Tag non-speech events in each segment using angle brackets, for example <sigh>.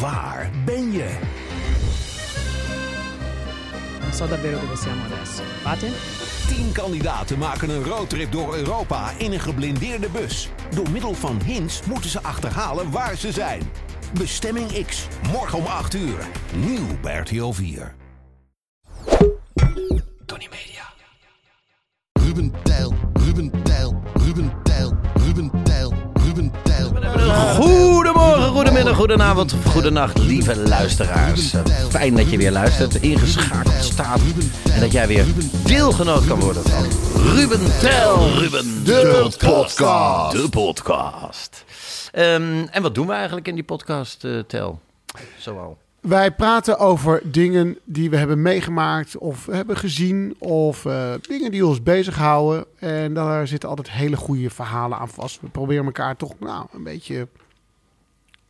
Waar ben je? Non so davvero dove siamo adesso. Fate? Tien kandidaten maken een roadtrip door Europa in een geblindeerde bus. Door middel van hints moeten ze achterhalen waar ze zijn. Bestemming X, morgen om 8 uur. Nieuw bij RTL 4. Tony Media. Ruben Tijl, Ruben Tijl, Ruben Tijl, Ruben Tijl, Ruben Tijl. Goedemorgen, goedemiddag, goedenavond, of goedenacht, lieve luisteraars. Fijn dat je weer luistert, ingeschakeld staat en dat jij weer deelgenoot kan worden van Ruben Tel Ruben, de podcast. De podcast. Ehm, en wat doen we eigenlijk in die podcast, eh, Tel? Zoal. Wij praten over dingen die we hebben meegemaakt of hebben gezien of eh, dingen die ons bezighouden. En daar zitten altijd hele goede verhalen aan vast. We proberen elkaar toch nou, een beetje,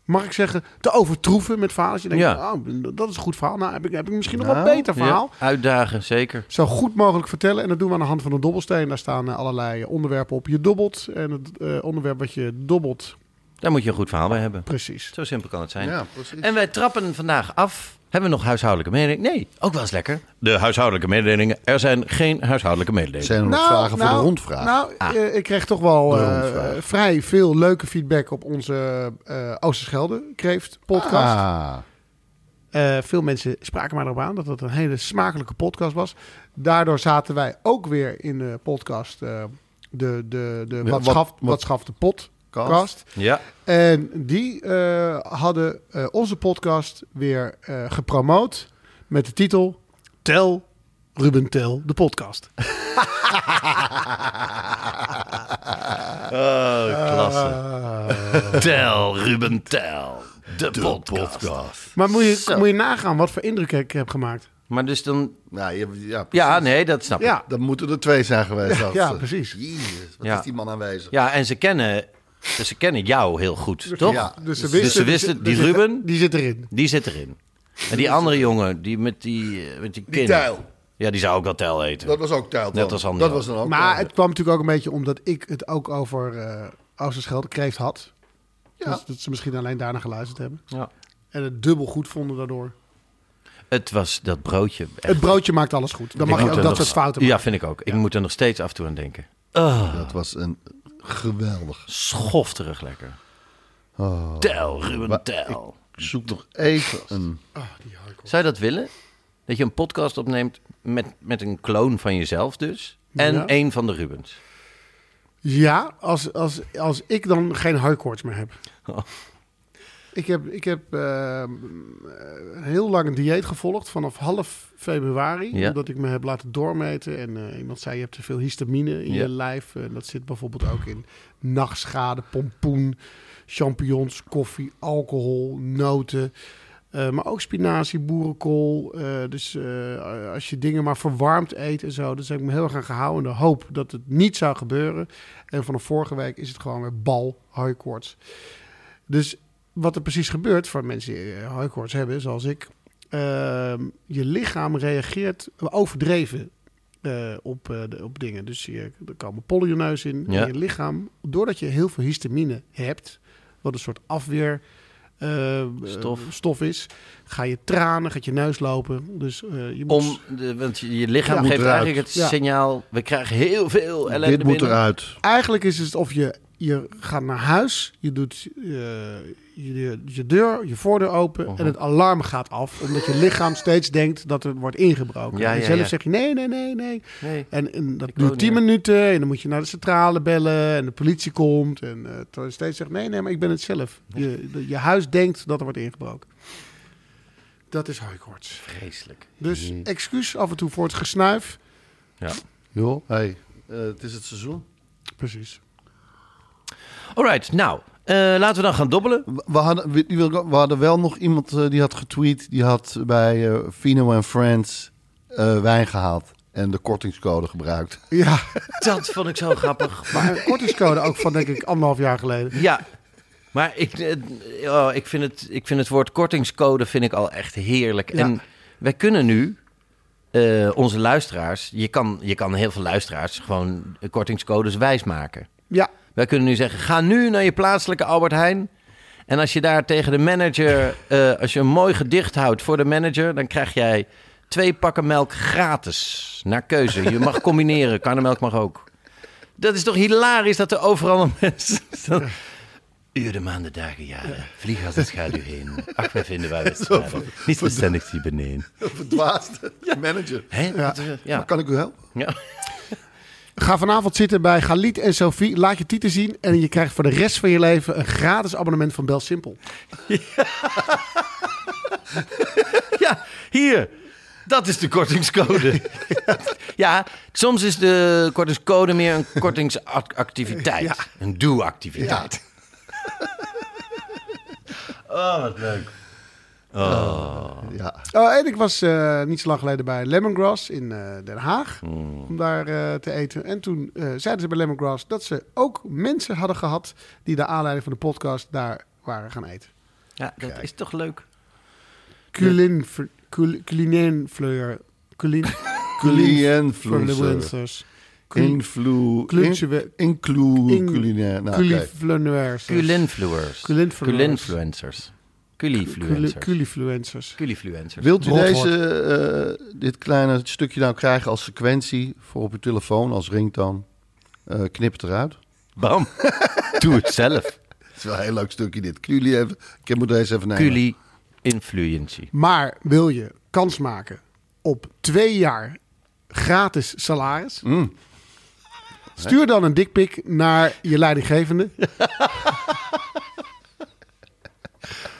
mag ik zeggen, te overtroeven met verhalen. Als je denkt, Ja. oh, dat is een goed verhaal. Nou, heb ik, heb ik misschien nog een beter verhaal. Ja, uitdagen, zeker. Zo goed mogelijk vertellen. En dat doen we aan de hand van een dobbelsteen. Daar staan eh, allerlei onderwerpen op. Je dobbelt. En het eh, onderwerp wat je dobbelt, Daar moet je een goed verhaal bij hebben. precies. Zo simpel kan het zijn. Ja, precies. En wij trappen vandaag af. Hebben we nog huishoudelijke mededelingen? Nee, ook wel eens lekker. De huishoudelijke mededelingen. Er zijn geen huishoudelijke mededelingen. Zijn er nog vragen voor de rondvraag? Ah. Nou, eh, ik kreeg toch wel De eh, rondvraag. vrij veel leuke feedback op onze eh Oosterschelde Kreeft podcast. Ah, Eh, veel mensen spraken mij erop aan dat het een hele smakelijke podcast was. Daardoor zaten wij ook weer in de podcast eh, de, de, de wat, wat- schaft, wat- wat schaft de podcast. <laughs> Ja. En die eh, hadden eh, onze podcast weer eh, gepromoot met de titel Tel Ruben Tel de podcast. Oh, klasse. Ah. Tel, Ruben, tel. De, podcast. Maar moet je, moet je nagaan wat voor indruk ik heb gemaakt. Maar dus dan... nou, ja, ja, precies. Ja, nee, dat snap ik. Ja, Dan moeten er twee zijn <laughs> geweest. dacht ja, ze. precies. Jezus, wat Ja. is die man aanwezig? Ja, en ze kennen, dus ze kennen jou heel goed, toch? Ja. Dus ze Dus wisten, ze wisten, die die zit- Ruben? die zit erin. Die zit erin. En die andere jongen, die met die, eh, met die kin. Tijl. Ja, die zou ook wel tel eten. Dat was ook Tijl. Net dan. als Andy Dat ook. was dan ook Maar Tijl. het kwam natuurlijk ook een beetje omdat ik het ook over eh Oosterschelde kreeft had. Ja. Dus dat ze misschien alleen daarna geluisterd hebben. Ja. En het dubbel goed vonden daardoor. Het was dat broodje. echt. Het broodje maakt alles goed. Dan Ik mag je moet ook er dat nog- soort fouten Ja, maken. vind ik ook. Ik moet er nog steeds af en toe aan denken. Dat was een geweldig. Schofterig lekker. Tel, Ruben, Oh. Maar tel. Ik zoek nog even een... Zou je dat willen? Dat je een podcast opneemt met, met een kloon van jezelf dus. En Ja. één van de Rubens. Ja, als, als, als ik dan geen hardcourts meer heb. Oh. Ik heb, ik heb eh, eh, heel lang een dieet gevolgd vanaf half februari. Ja. Omdat ik me heb laten doormeten. En eh, iemand zei, je hebt te veel histamine in Ja. je lijf. En dat zit bijvoorbeeld ook in nachtschade, pompoen, champignons, koffie, alcohol, noten. Eh, maar ook spinazie, boerenkool. Eh, dus eh, als je dingen maar verwarmd eet en zo. Dus heb ik me heel erg aan gehouden. In de hoop dat het niet zou gebeuren. En vanaf vorige week is het gewoon weer bal hooikoorts. Dus wat er precies gebeurt voor mensen die eh, hooikoorts hebben, zoals ik. ehm, je lichaam reageert overdreven eh, op, eh, de- op dingen. Dus je, er komen polioneus in. Ja. En je lichaam, doordat je heel veel histamine hebt... wat een soort afweer eh, Stof. eh, stof is. Ga je tranen, gaat je neus lopen. Dus eh, je moet... Om de, want je, je lichaam Ja. geeft Moet eruit. eigenlijk het Ja. signaal... We krijgen heel veel ellende Dit moet binnen. eruit. Eigenlijk is het of je, je gaat naar huis, je doet eh, je, je deur, je voordeur open Mhm. en het alarm gaat af. Omdat je lichaam steeds denkt dat er wordt ingebroken. Ja, en ja, zelf ja. zeg je nee, nee, nee, nee. Nee. En, en dat Ik woon duurt tien hier. minuten en dan moet je naar de centrale bellen en de politie komt. En eh, terwijl je steeds zegt nee, nee, maar ik ben het zelf. Je, de- je huis denkt dat er wordt ingebroken. Dat is hooikoorts. Vreselijk. Dus excuus af en toe voor het gesnuif. Ja. Joh, hey, eh, het is het seizoen. Precies. Alright, nou, eh, laten we dan gaan dobbelen. We hadden, we, die wil ik ook- we hadden wel nog iemand eh, die had getweet. Die had bij eh Fino Friends eh, wijn gehaald. En de kortingscode gebruikt. Ja, Dat vond ik zo grappig. Maar, maar een kortingscode ook van denk ik anderhalf jaar geleden. ja, maar ik, eh, oh, ik, vind het, ik vind het woord kortingscode vind ik al echt heerlijk. Ja. En wij kunnen nu eh, onze luisteraars... Je kan, je kan heel veel luisteraars gewoon kortingscodes wijsmaken. Ja, Wij kunnen nu zeggen, ga nu naar je plaatselijke Albert Heijn. En als je daar tegen de manager, eh, als je een mooi gedicht houdt voor de manager, dan krijg jij twee pakken melk gratis. Naar keuze. Je <laughs> mag combineren. Karnemelk mag ook. Dat is toch hilarisch dat er overal nog <laughs> mensen staan. Uren, maanden, dagen, jaren. Vlieg als het schaduw heen. Ach, wij vinden waar we <laughs> straden. Niet bestendig die beneden. <laughs> Verdwaasde manager. Hè? Ja. Ja. Kan ik u helpen? Ja. Ga vanavond zitten bij Galit en Sophie. Laat je titel zien en je krijgt voor de rest van je leven een gratis abonnement van Bel Simpel. <laughs> Ja, hier. Dat is de kortingscode. <laughs> ja, soms is de kortingscode meer <laughs> een kortingsactiviteit. Een doe-activiteit. Oh, wat leuk. Ja. Oh, en ik was eh, niet zo lang geleden bij Lemongrass in eh, Den Haag om daar eh, te eten. En toen eh, zeiden ze bij Lemongrass dat ze ook mensen hadden gehad die naar aanleiding van de podcast daar waren gaan eten. Ja, dat is toch leuk. Culin, cul, culinaire fleur. Culin, Culinfluencer. influencers. Influ... Clunchwe- Inclu... In- Culinaire. Nou, oké. Culinfluencers. Culinfluencers. Culinfluencers. Culinfluencers. Culifluencers. Culifluencers. Culifluencers. Wilt u Rot deze, eh, dit kleine stukje nou krijgen als sequentie voor op uw telefoon, als ringtoon? Eh, knip het eruit. Bam. <laughs> Doe het zelf. Het is wel een heel leuk stukje dit. Culi even, ik moet deze even nemen. Culi-influentie. Maar wil je kans maken op twee jaar gratis salaris? Stuur dan een dikpik naar je leidinggevende.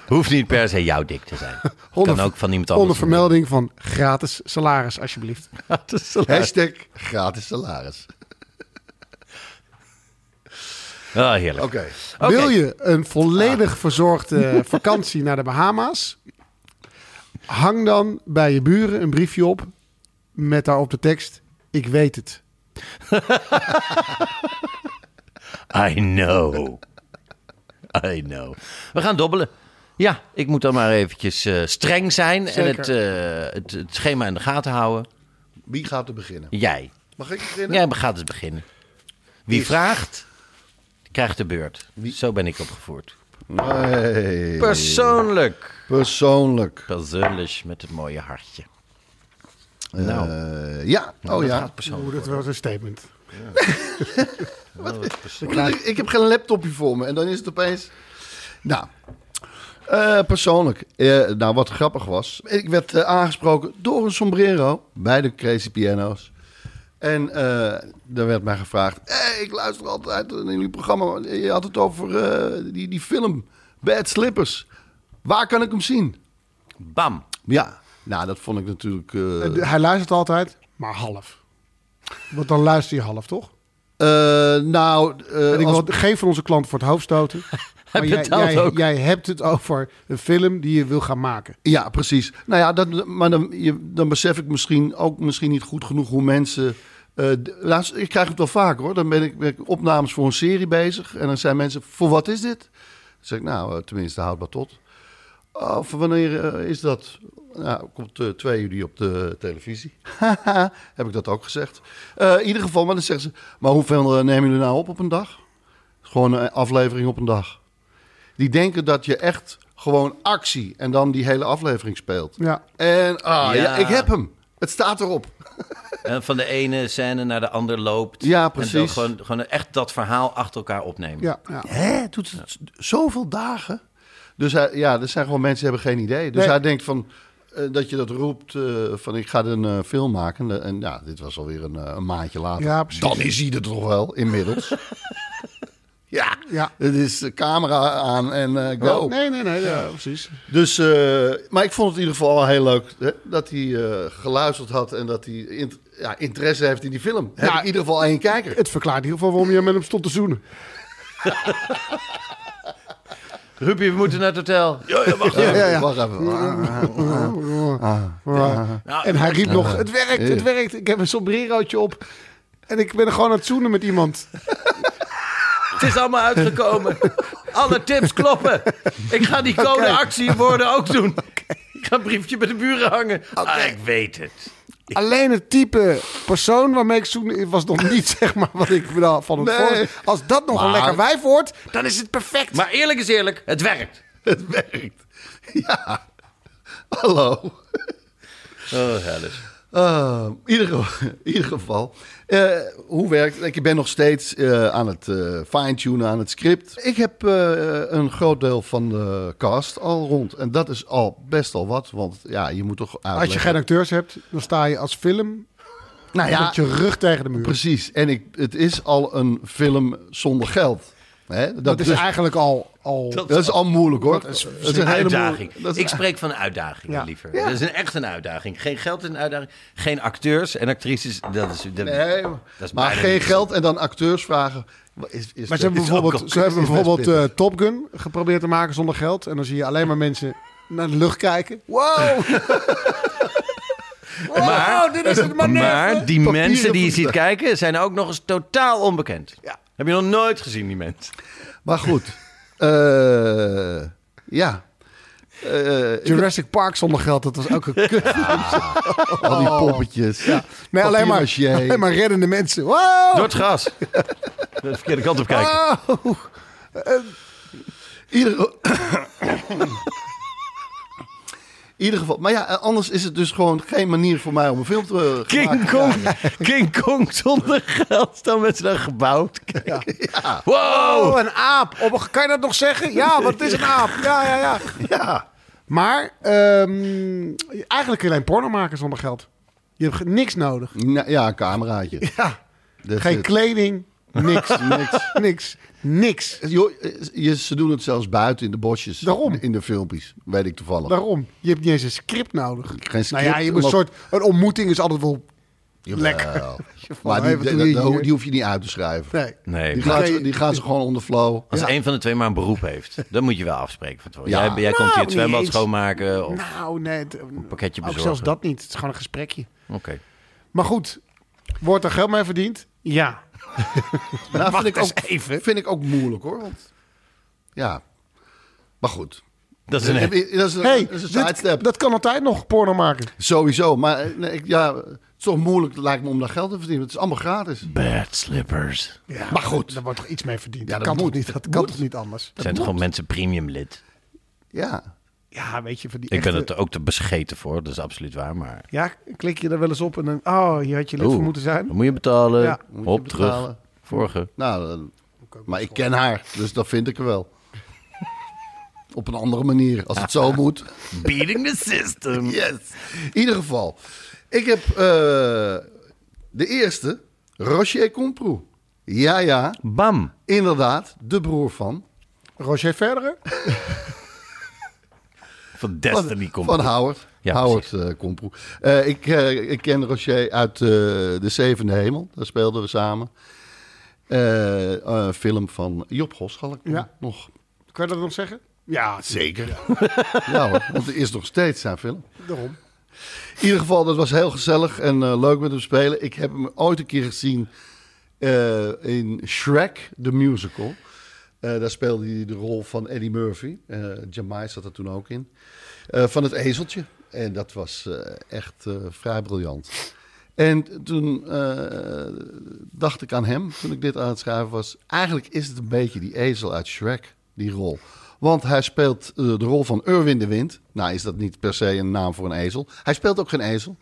Hoeft niet per se jouw dik te <laughs> zijn. Onder- kan ook van iemand anders. Onder vermelding van gratis salaris, alsjeblieft. <laughs> Hashtag gratis salaris. Ah, heerlijk. Oké. Oké. Wil je een volledig verzorgde <laughs> vakantie naar de Bahama's? Hang dan bij je buren een briefje op met daarop de tekst: Ik weet het. I know. I know. We gaan dobbelen. Ja, ik moet dan maar eventjes eh, streng zijn en Zeker. het, eh, het, het schema in de gaten houden. Wie gaat er beginnen? Jij. Mag ik beginnen? Jij gaat eens beginnen. Wie vraagt, krijgt de beurt. Zo ben ik opgevoerd. Nee. Persoonlijk. Persoonlijk. Persoonlijk met het mooie hartje. Nou, Eh, ja. Oh ja. Oeh, dat was een statement. Ik, ik heb geen laptopje voor me. En dan is het opeens... Nou, eh, persoonlijk. eh, nou, wat grappig was. Ik werd eh, aangesproken door een sombrero bij de Crazy Piano's. En eh er werd mij gevraagd... Hey, ik luister altijd naar jullie programma. Je had het over eh, die, die film Bad Slippers. Waar kan ik hem zien? bam. Ja, nou, dat vond ik natuurlijk... eh, Eh, Hij luistert altijd, maar half. Want dan luister je half, toch? eh, nou, eh, En ik als- wil geen van onze klanten voor het hoofd stoten. <laughs> Maar jij, betaalt jij, ook. jij hebt het over een film die je wil gaan maken. Ja, precies. Nou ja, dat, maar dan, je, dan besef ik misschien ook misschien niet goed genoeg hoe mensen. eh, d- laatst, ik krijg het wel vaak hoor. Dan ben ik met opnames voor een serie bezig. En dan zijn mensen: voor wat is dit? Dan zeg ik: nou, eh, tenminste, houd maar tot. Oh, voor wanneer eh, is dat? Nou, komt eh 2 juli op de televisie. <laughs> Haha, Heb ik dat ook gezegd. Eh, in ieder geval, maar dan zeggen ze... Maar hoeveel eh, nemen jullie nou op op een dag? Gewoon een aflevering op een dag. Die denken dat je echt gewoon actie en dan die hele aflevering speelt. Ja. En ah, ja. Ja. ik heb hem. Het staat erop. En Eh, van de ene scène naar de andere loopt. Ja, En dan precies. gewoon, gewoon echt dat verhaal achter elkaar opnemen. Ja, ja. Hè, doet het z- zoveel dagen? Dus hij, ja, er zijn gewoon mensen die hebben geen idee. Dus Nee. hij denkt van, eh, dat je dat roept eh, van ik ga er een eh, film maken. En, en ja, dit was alweer een, eh, een maandje later. Ja, precies. Dan is hij er toch wel, <laughs> inmiddels. ja, Ja. het is de camera aan en eh, go. Nee, nee, nee, ja, precies. Dus, eh, maar ik vond het in ieder geval wel heel leuk hè, dat hij eh, geluisterd had en dat hij int- ja, interesse heeft in die film. Heb Ja. ik in ieder geval één kijker. Het verklaart in ieder geval waarom je met hem stond te zoenen. Rupi, we moeten naar het hotel. Ja, ja, ja. Wacht even. Nou, En hij Ah, riep nog, het werkt, het werkt. Ik heb een sombrerootje op. En ik ben gewoon aan het zoenen met <laughs> iemand. Het is allemaal uitgekomen. Alle tips kloppen. Ik ga die codeactiewoorden ook doen. Ik ga een briefje bij de buren hangen. Ah, ik weet het. Alleen het type persoon waarmee ik zoen was <laughs> nog niet zeg maar wat ik me daar van het Nee. voor. Als dat nog een lekker wijf wordt, dan is het perfect. Maar eerlijk is eerlijk, het werkt. <laughs> Het werkt. Ja. Hallo. Oh, hellis. Eh, in, ieder, geval- in ieder geval. Eh, hoe werkt het? Ik ben nog steeds eh, aan het eh, fine-tunen aan het script. Ik heb eh, een groot deel van de cast al rond. En dat is al best al wat. Want ja, je moet toch Als je uitleggen. geen acteurs hebt, dan sta je als film Nou ja, met je rug tegen de muur. precies. En ik, het is al een film zonder geld. Hè? Dat is dus- eigenlijk al... al dat is al moeilijk hoor. Dat is, Een hele uitdaging. moeilijk- dat is- Ik spreek van uitdagingen, Ja. liever. Dat is een, echt een uitdaging. Geen geld is een uitdaging. Geen acteurs en actrices. Dat is, dat, Nee, dat is maar bijna geen niet. geld en dan acteurs vragen. Is, is maar ze hebben is ook- bijvoorbeeld, ze hebben is best bijvoorbeeld pittig. eh, Top Gun geprobeerd te maken zonder geld. En dan zie je alleen maar mensen naar de lucht kijken. <laughs> Wow! Maar- wow, dit is het manoeuvre. Maar die Papieren mensen die je ziet voeten. kijken zijn ook nog eens totaal onbekend. Heb je nog nooit gezien, die mensen? Maar goed. Eh, ja. Eh, ik- Jurassic Park zonder geld, dat was ook een <laughs> kut. al die poppetjes. Oh. Nee, alleen maar, Papier-mâché. alleen maar reddende mensen. Wow! Door het gras. De verkeerde kant op kijken. Wow! Ieder... In <coughs> ieder geval. Maar ja, eh, anders is het dus gewoon geen manier voor mij om een film te eh, maken King te Kong, krijgen. King Kong zonder geld. Staan mensen naar gebouwd. Ja. Wow! Oh, een aap. Oh, kan je dat nog zeggen? Ja, want het is een aap. Ja, ja, ja. Ja. Maar ehm, eigenlijk kun je alleen porno maken zonder geld. Je hebt ge- niks nodig. Nou, ja, een cameraatje. Ja. That's Geen it. kleding. <laughs> Niks. Niks. niks. Niks. Jo, eh, je, ze doen het zelfs buiten in de bosjes. Daarom. In de filmpjes, weet ik toevallig. Daarom. Je hebt niet eens een script nodig. script, nou ja, je hebt een omdat- soort... Een ontmoeting is altijd wel... Jawel. Lekker. <laughs> Maar Even die, doe dat- je dat- hier. die hoef je niet uit te schrijven. Nee. Nee, Die, maar gaan ze, die gaan ze gewoon on the flow. als een van de twee maar een beroep heeft, dan moet je wel afspreken. Van tevoren. Ja. Jij, jij komt hier het niet zwembad eens. schoonmaken. Of, Nou, nee. het- ook pakketje zelfs bezorgen. dat niet. Het is gewoon een gesprekje. Oké. Maar goed, wordt er geld mee verdiend? Ja. Nou, Wacht vind ik, eens ook, even. vind ik ook moeilijk hoor. Want, ja, maar goed. Dat is een. <laughs> Dat is een, Hey, dat is een dit- sidestep. dat kan altijd nog porno maken. Sowieso. Maar eh, nee, ik, ja, het is toch moeilijk lijkt me om daar geld te verdienen. want Het is allemaal gratis. Bad slippers. maar goed. Daar wordt toch iets mee verdiend. Ja, dat, dat kan, toch moet. niet, dat Dat kan moet. toch niet anders? Zijn gewoon mensen premium lid? Ja. Ja, weet je, van die Ik ben echte- het ook te bescheten voor, dat is absoluut waar. Maar Ja, klik je er wel eens op en dan... Oh, je had je lid Oeh, voor moeten zijn. dan moet je betalen. Ja. Moet je Hop, terug. betalen. Vorige. Nou, dan- maar ik ken haar. Dus dat vind ik er wel. Op een andere manier. Als het zo moet. Beating the system. Yes. In ieder geval. Ik heb eh, de eerste. Rocher Comprou. Ja, ja. Bam. Inderdaad. De broer van. Roger Verdere? Van Destiny van, komt. Van Howard. Ja, Howard eh Komproe. Eh, ik, eh, ik ken Rocher uit eh, De Zevende Hemel. Daar speelden we samen. Eh, eh, film van Job Goschalk Ja. nog. Kan je dat nog zeggen? Ja, zeker. Ja hoor, want er is nog steeds zijn film. daarom. In ieder geval, dat was heel gezellig en eh, leuk met hem spelen. Ik heb hem ooit een keer gezien eh, in Shrek, de musical. Eh, daar speelde hij de rol van Eddie Murphy. Eh Jamai zat er toen ook in. Eh, van het ezeltje. En dat was eh, echt eh, vrij briljant. En toen eh, dacht ik aan hem, toen ik dit aan het schrijven was... eigenlijk is het een beetje die ezel uit Shrek, die rol. Want hij speelt eh, de rol van Erwin de Wind. Nou is dat niet per se een naam voor een ezel. Hij speelt ook geen ezel.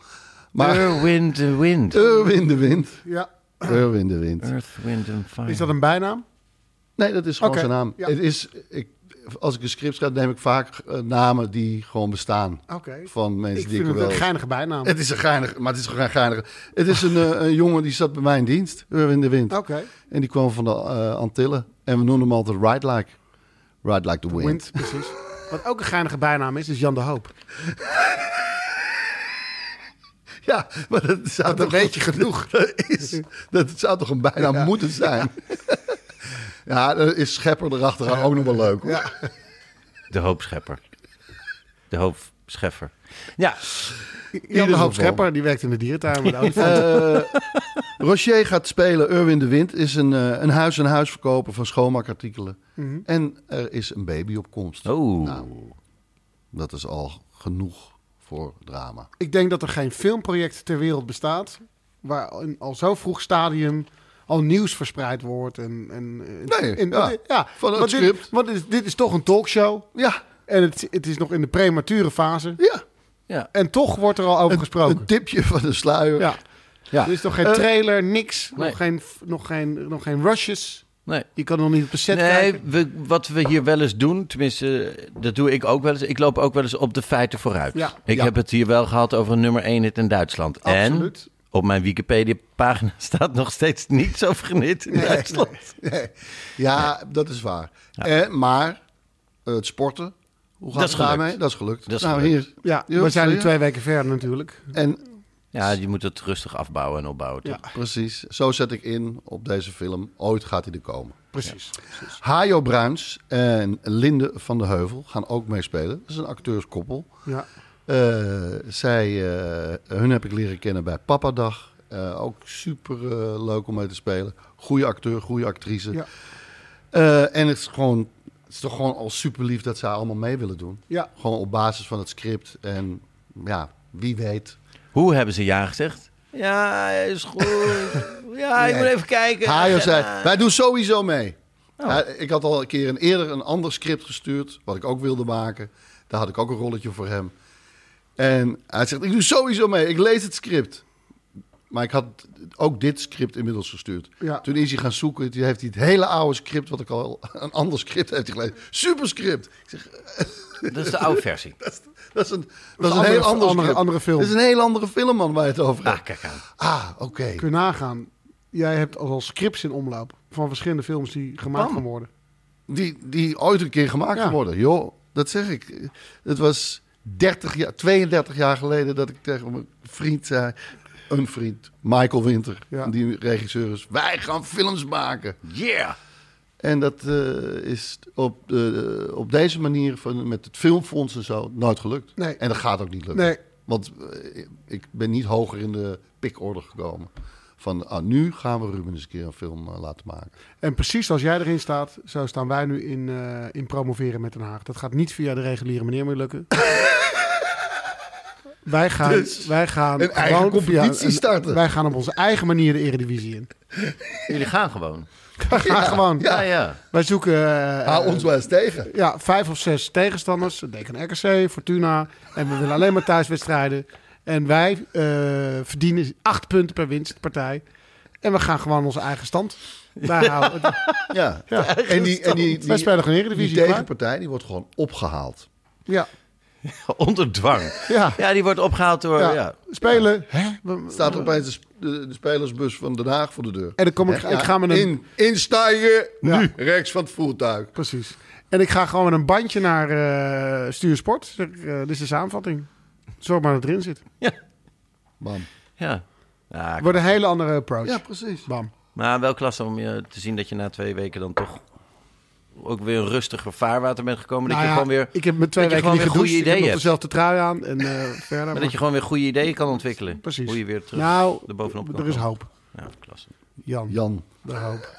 Maar Earwind the Wind. Erwin de <clears throat> Wind. Ja. Erwin de Wind. Earth, Wind and Fire. Is dat een bijnaam? Nee, dat is gewoon Oké, zijn naam. ja. Het is, ik, als ik een script schrijf, neem ik vaak eh, namen die gewoon bestaan. Oké. Van mensen Ik die vind ik het wel... een geinige bijnaam. Het is een geinig, maar het is gewoon een geinig. Het is een, eh, een jongen die zat bij mij in dienst, Erwin de Wind. Oké. En die kwam van de eh, Antillen. En we noemden hem altijd Ride Like. Ride Like the Wind. Wind, precies. Wat ook een geinige bijnaam is, is Jan de Hoop. <laughs> Ja, maar dat zou toch <laughs> weet je genoeg. Dat, is, dat zou toch een bijna moeten zijn. <laughs> Ja, dan is Schepper erachteraan ook nog wel leuk. Hoor. De hoopschepper. De hoopscheffer. Ja, Jan de geval. Hoop Schepper, die werkt in de dierentuin. <laughs> met olifanten. Eh, Rocher gaat spelen. Erwin de Wind is een, eh, een huis- en huisverkoper van schoonmaakartikelen. Mhm. En er is een baby op komst. Oh. Nou, dat is al genoeg voor drama. Ik denk dat er geen filmproject ter wereld bestaat... waar in al zo vroeg stadium al nieuws verspreid wordt. En, en, Nee, ja. Van want het dit- script. Want dit, is- dit is toch een talkshow. Ja, En het, het is nog in de premature fase. ja. ja. En toch wordt er al over gesproken. Een tipje van de sluier. ja. Ja. Er is nog geen Eh, trailer, niks. nee. Nog, geen, nog, geen, nog geen rushes. Nee. Je kan nog niet op de set Nee, kijken. we, wat we hier wel eens doen, tenminste, eh, dat doe ik ook wel eens. Ik loop ook wel eens op de feiten vooruit. Ja. Ik Ja. heb het hier wel gehad over een nummer 1 hit in Duitsland. Absoluut. En op mijn Wikipedia-pagina <laughs> staat nog steeds niets over een hit in Duitsland. Nee. Ja, dat is waar. Eh, maar eh, het sporten, hoe gaat Dat is het daarmee? gelukt. Dat is gelukt. Dat is nou, gelukt. Hier, Ja, Hier, we zijn nu hier. twee weken verder natuurlijk. En Ja, je moet het rustig afbouwen en opbouwen. toch? precies, zo zet ik in op deze film. Ooit gaat hij er komen. Precies. Hajo Bruins en Linde van de Heuvel gaan ook meespelen. Dat is een acteurskoppel. Ja. Eh, zij, eh, hun heb ik leren kennen bij Papadag. Eh, ook super eh, leuk om mee te spelen. Goede acteur, goede actrice. Ja. Eh, en het is, gewoon, het is toch gewoon al super lief dat zij allemaal mee willen doen. Ja. Gewoon op basis van het script. En ja, wie weet. Hoe hebben ze ja gezegd? Ja, is goed. Ja, Ah, ik moet even kijken. Oh. Hajo zei, wij doen sowieso mee. Ja, ik had al een keer een, eerder een ander script gestuurd, wat ik ook wilde maken. Daar had ik ook een rolletje voor hem. En hij zegt, ik doe sowieso mee, ik lees het script. Maar ik had ook dit script inmiddels gestuurd. Ja. Toen is hij gaan zoeken, toen heeft hij het hele oude script, wat ik al een ander script heeft hij gelezen. Superscript! Ik zeg, Dat is de oude versie. dat is een, dat is een andere- heel ander andere- script. andere film. Dat is een heel andere film, man, waar je het over hebt. Ah, kijk aan. Ah, oké. Kun je nagaan. Jij hebt al scripts in omloop van verschillende films die gemaakt Oh. gaan worden. die, die ooit een keer gemaakt Ja. worden. Joh, dat zeg ik. Het was 30 jaar, 32 jaar geleden dat ik tegen mijn vriend zei... Een vriend, Michael Winter, Ja. die regisseur is. Wij gaan films maken. Yeah! En dat eh, is op, de- op deze manier, van, met het filmfonds en zo, nooit gelukt. Nee. En dat gaat ook niet lukken. Nee. Want eh, ik ben niet hoger in de pickorde gekomen. Van, ah, nu gaan we Ruben eens een keer een film eh, laten maken. En precies zoals jij erin staat, zo staan wij nu in, eh, in promoveren met Den Haag. Dat gaat niet via de reguliere manier meer <laughs> lukken. wij gaan, wij gaan Dus een eigen gewoon competitie via een- starten. Wij gaan op onze eigen manier de eredivisie <laughs> in. Jullie gaan gewoon. Wij gaan gewoon. Ja, ja. Wij zoeken eh, Hou eh, Ah, ons wel eens tegen. ja, vijf of zes tegenstanders. Deken RKC, Fortuna. En we willen alleen maar thuiswedstrijden. En wij eh, verdienen acht punten per winstpartij. En we gaan gewoon onze eigen stand. Wij houden het- Ja. En die, en die, Wij die, spelen gewoon die Eredivisie. klaar. tegenpartij die wordt gewoon opgehaald. Ja. Onder dwang. Ja. Ja, die wordt opgehaald door... Ja. ja. <laughs> Spelen. Hè? We- Staat er opeens de, sp- de, de spelersbus van Den Haag voor de deur. En dan kom ik, Hè? ik ga met een... in, instaigen, Ja. nu, rechts van het voertuig. Precies. En ik ga gewoon met een bandje naar eh, Stuursport. Zeg, eh, dit is de samenvatting. Zorg maar dat het erin zit. Man. Ja. Ja, Wordt een hele andere approach. Nou Ja, precies. Bam. Maar wel klasse om je te zien dat je na twee weken dan toch ook weer een rustiger vaarwater bent gekomen. Nou dat je ja, gewoon weer, ik heb met twee dat je weken niet gewoon weer gedoucht. goede Ik heb ideeën nog hebt. dezelfde trui aan. En eh, verder. Maar <laughs> dat je gewoon weer goede ideeën kan ontwikkelen. Precies. Hoe je weer terug nou, erbovenop kan er is komen. hoop. Ja, klasse. Jan, Jan. de hoop.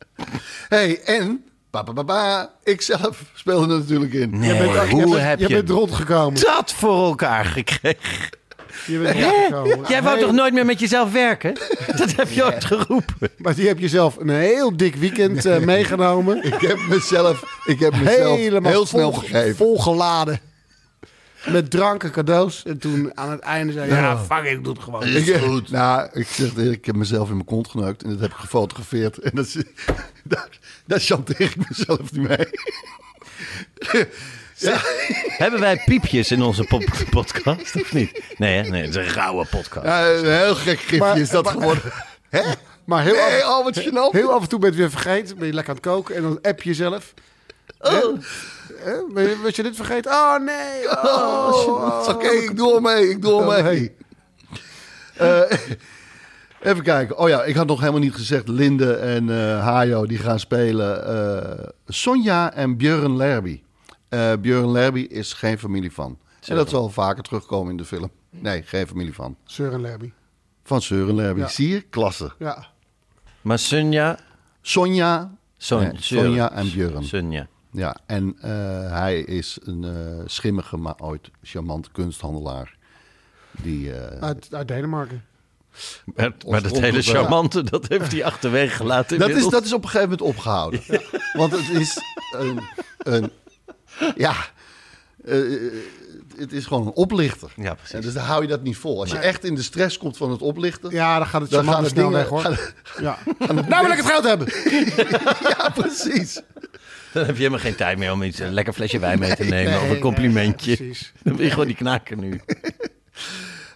<laughs> hey, en... Ba, ba, ba, ba, ikzelf speelde er natuurlijk in. Nee, hoe je bent, heb je je, bent <laughs> rondgekomen. dat voor elkaar gekregen? Je bent rondgekomen. Jij wou Heel- toch nooit meer met jezelf werken? Dat heb je ooit geroepen. Maar die heb je zelf een heel dik weekend eh, meegenomen. Ik heb mezelf, ik heb mezelf Helemaal heel snel vol- gegeven. volgeladen. Met dranken, cadeaus. En toen aan het einde zei je... Ja, fuck it, ik doe het gewoon. Ik, goed. Nou, ik zeg het eerlijk, ik heb mezelf in mijn kont geneukt en dat heb ik gefotografeerd. En dat, is- <laughs> daar, daar chanteer ik mezelf niet mee. Hebben wij piepjes in onze pop- podcast of niet? Nee, hè? nee, het is een rauwe podcast. Ja, een heel gek gifje Maar- is dat maar- geworden. <laughs> Hè? Maar heel, af, Nee, al wat gênant. heel af en toe ben je het weer vergeten. Ben je lekker aan het koken en dan app je zelf. Hè? Hè? Ben je- Was je dit vergeten? Oh <laughs> nee. oh. Oh, Oké, ik doe al mee, ik doe al mee. Eh, <laughs> Even kijken. Oh ja, ik had nog helemaal niet gezegd. Linde en eh Hajo die gaan spelen. eh, Sonja en Björn Lerby. Eh Björn Lerby is geen familie van. En dat zal vaker terugkomen in de film. Nee, geen familie van. Søren Lerby. Van Søren Lerby. Ja. Zie je? Klasse. Ja. Maar Sunja... Sonja. Son, Nee, Sonja en Björn. Sunja. Ja, en eh, hij is een eh, schimmige, maar ooit charmant kunsthandelaar. Die, eh, Uit, uit Denemarken. Maar, maar dat Ons hele onderwerp. charmante, dat heeft hij achterwege gelaten dat, is, inmiddels. dat is op een gegeven moment opgehouden. <laughs> Want het is een. een ja, eh, het is gewoon een oplichter. Ja, precies. En dus dan hou je dat niet vol. Als je echt in de stress komt van het oplichten. Ja, dan gaat het Dan charmante gaan de snel dingen- weg, hoor. gaan- ja. <laughs> nou wil ik het geld hebben! <laughs> ja, precies. Dan heb je helemaal geen tijd meer om iets, een lekker flesje wijn mee te nemen of een nee, complimentje. nee, precies. Dan ben je gewoon die knaken nu.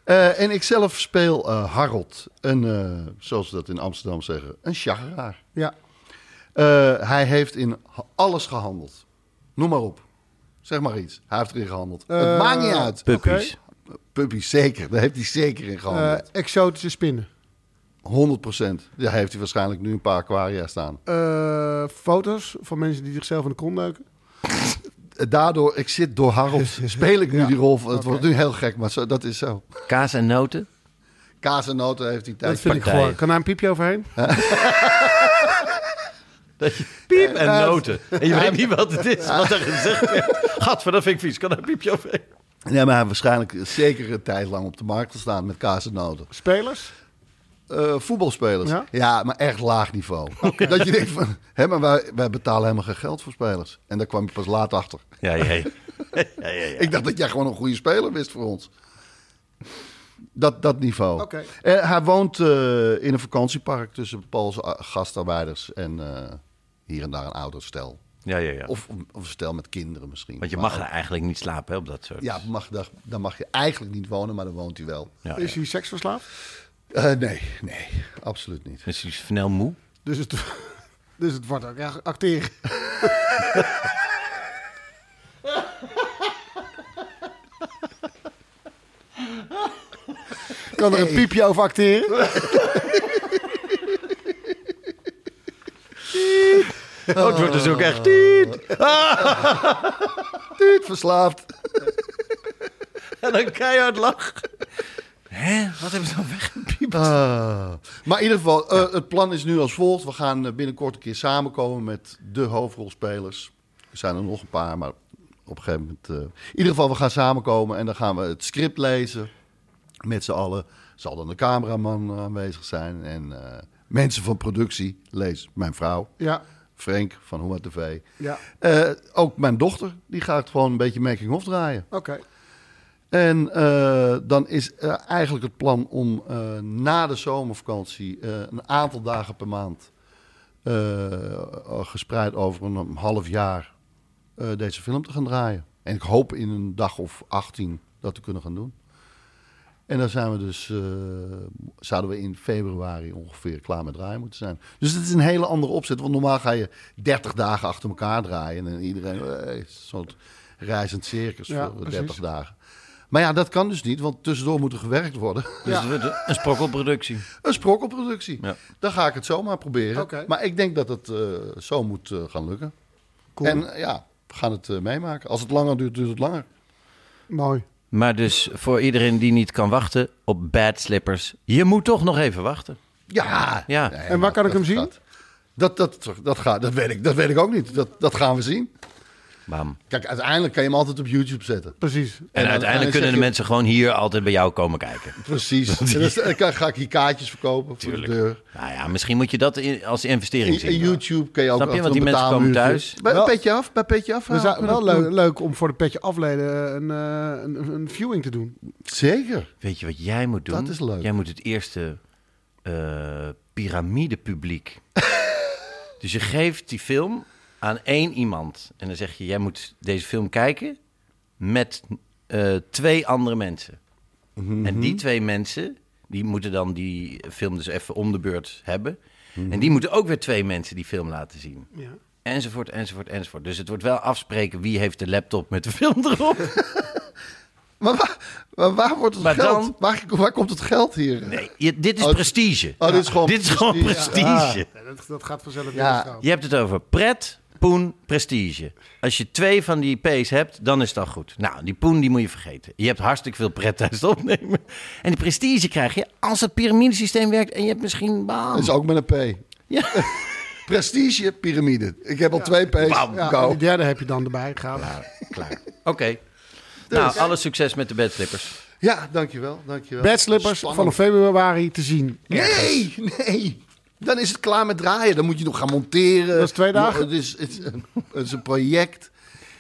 Eh, en ik zelf speel eh, Harold. Een, eh, zoals we dat in Amsterdam zeggen, een chageraar. Ja. Eh, hij heeft in ha- alles gehandeld. Noem maar op. Zeg maar iets. Hij heeft erin gehandeld. het Eh, maakt niet uit. Puppies. Puppy, zeker. Daar heeft hij zeker in Eh, gehandeld. exotische spinnen. 100%. Ja, hij heeft hij waarschijnlijk nu een paar aquaria staan. Eh, foto's van mensen die zichzelf in de kont duiken. Eh, Daardoor, ik zit door Harold, <laughs> speel ik nu die rol. Het wordt nu heel gek, maar zo, dat is zo. Kaas en noten. Kaas en noten heeft hij Dat tijd. vind ik partijen. gewoon. Kan daar een piepje overheen? <laughs> Piep en noten. En je weet niet wat het is, wat er gezegd werd. Gadver, dat vind ik vies. Kan daar een piepje overheen? Nee, maar hij heeft waarschijnlijk zeker een tijd lang op de markt gestaan met kaas en noten. Spelers? Eh, voetbalspelers. Ja? Ja? maar echt laag niveau. <laughs> Dat je denkt van, hè, maar wij, wij betalen helemaal geen geld voor spelers. En daar kwam je pas laat achter. Ja, ja, ja. ja, ja, ja. Ik dacht dat jij gewoon een goede speler wist voor ons. Dat, dat niveau. Oké. Eh, hij woont eh, in een vakantiepark tussen Poolse a- gastarbeiders en eh, hier en daar een ouder stel. ja, ja, ja. Of, of een stel met kinderen misschien. Want je Maar mag er ook- eigenlijk niet slapen hè, op dat soort. Ja, mag, daar, daar mag je eigenlijk niet wonen, maar daar woont hij wel. ja, Oh, ja. Is hij seksverslaafd? Eh, nee, nee, absoluut niet. Dus die is snel moe. Dus het, <laughs> dus het wordt ook echt acteren. kan er een piepje over acteren? Oh, het wordt dus ook echt... tiet. Tuut, verslaafd. <laughs> En dan keihard lach. Hè? Wat hebben ze dan weggepiept? Ah. Maar in ieder geval, eh, het plan is nu als volgt. We gaan eh, binnenkort een keer samenkomen met de hoofdrolspelers. Er zijn er nog een paar, maar op een gegeven moment... eh, in ieder geval, we gaan samenkomen en dan gaan we het script lezen. Met z'n allen zal dan de cameraman aanwezig zijn. En eh, mensen van productie, lees mijn vrouw, Ja. Frank van Hoema TV. Ja. Eh, ook mijn dochter, die gaat gewoon een beetje making-of draaien. Oké. En eh, dan is eh, eigenlijk het plan om eh, na de zomervakantie eh, een aantal dagen per maand, eh, gespreid over een half jaar, eh, deze film te gaan draaien. En ik hoop in een dag of 18 dat te kunnen gaan doen. En dan zijn we dus, eh, zouden we in februari ongeveer klaar met draaien moeten zijn. Dus het is een hele andere opzet. Want normaal ga je 30 dagen achter elkaar draaien. En iedereen, eh, zo'n reizend circus Ja, voor precies. 30 dagen. Maar ja, dat kan dus niet, want tussendoor moet er gewerkt worden. <laughs> Dus het wordt een sprokkelproductie. Een sprokkelproductie. Ja. Dan ga ik het zomaar proberen. Oké. Maar ik denk dat het eh, zo moet eh, gaan lukken. Cool. En eh, ja, we gaan het eh, meemaken. Als het langer duurt, duurt het langer. Mooi. Maar dus voor iedereen die niet kan wachten op Bad Slippers, je moet toch nog even wachten. Ja. Ja. Nee, En waar kan ik dat hem zien? gaat- Dat, dat, dat, gaat, dat, weet ik, dat weet ik ook niet. Dat, dat gaan we zien. Bam. Kijk, uiteindelijk kan je hem altijd op YouTube zetten. Precies. En, dan- en dan uiteindelijk kunnen zeg de je- mensen gewoon hier altijd bij jou komen kijken. <laughs> Precies. en dan, dan kan- ga ik hier kaartjes verkopen voor de deur. Nou ja, misschien moet je dat in- als investering In, zien. in YouTube kan je ook Snap je? achter Want die een mensen komen betaalmuurtje. thuis. Bij Wel- petje af, bij petje af. We halen Dus zou- we dat wel leuk, doen. leuk om voor de petje afleden een, eh, een, een viewing te doen. Zeker. Weet je wat jij moet doen? Dat is leuk. Jij moet het eerste eh <laughs> piramidepubliek. dus je geeft die film aan één iemand. En dan zeg je, jij moet deze film kijken met eh, twee andere mensen. Mhm. En die twee mensen, die moeten dan die film dus even om de beurt hebben. Mhm. En die moeten ook weer twee mensen die film laten zien. Ja. <laughs> Enzovoort, enzovoort, enzovoort. Dus het wordt wel afspreken wie heeft de laptop met de film erop. Maar waar, maar waar wordt het Maar geld? dan- Waar, waar komt het geld hier? Nee, je- dit is Oh, prestige. oh, dit is gewoon Dit is gewoon prestige. Ja, dat, dat gaat vanzelf Ja. weer gaan. Je hebt het over pret, poen, prestige. Als je twee van die P's hebt, dan is dat goed. Nou, die poen die moet je vergeten. Je hebt hartstikke veel pret tijdens het opnemen. En die prestige krijg je als het piramidesysteem werkt en je hebt misschien een baan. Dat is ook met een P. Ja. Prestige, piramide. Ik heb al twee P's. Bam. Ja. En de derde heb je dan erbij gehaald. Klaar. Oké. Nou, alle succes met de bedslippers. Ja, dankjewel. dankjewel. Badslippers vanaf februari te zien. Nee, nee. Dan is het klaar met draaien. Dan moet je nog gaan monteren. Dat is twee dagen. Het is, het is, een, het is een project.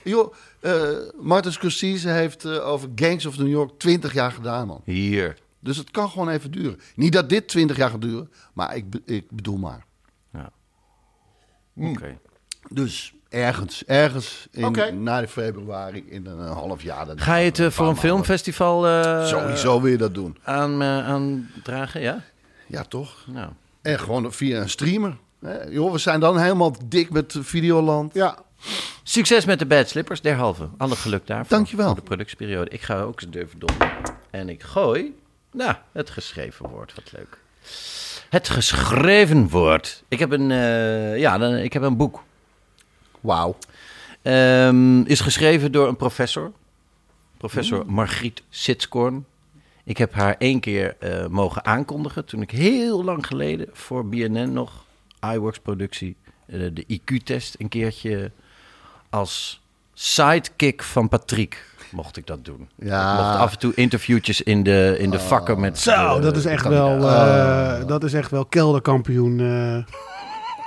Joh, eh Martin Scorsese heeft eh, over Gangs of New York 20 jaar gedaan, man. Hier. Dus het kan gewoon even duren. Niet dat dit 20 jaar gaat duren, maar ik, be- ik bedoel maar. Oké. Dus ergens, ergens in, Oké. na de februari, in een, eh, half jaar. dan- Ga je het eh, voor een filmfestival eh, Sowieso wil je dat doen. aan, eh, aandragen? Ja? Ja, toch? Nou. En gewoon via een streamer. Hè? Joh, we zijn dan helemaal dik met eh, Videoland. Ja, Succes met de bedslippers, derhalve. Alle geluk daarvoor. Dankjewel. Voor de productieperiode. Ik ga ook eens durven donderen. En ik gooi, nou, het geschreven woord. Wat leuk. Het geschreven woord. Ik heb een, eh, ja, dan- ik heb een boek. Wauw. Ehm, is geschreven door een professor. Professor Margriet Sitskoorn. Ik heb haar één keer eh, mogen aankondigen toen ik heel lang geleden voor BNN nog iWorks productie eh, de IQ-test een keertje als sidekick van Patrick mocht ik dat doen. Ja. Ik mocht af en toe interviewtjes in de, in de vakken met... zo, eh, Oh, dat is echt wel, kandidaten. eh, dat is echt wel kelderkampioen. eh,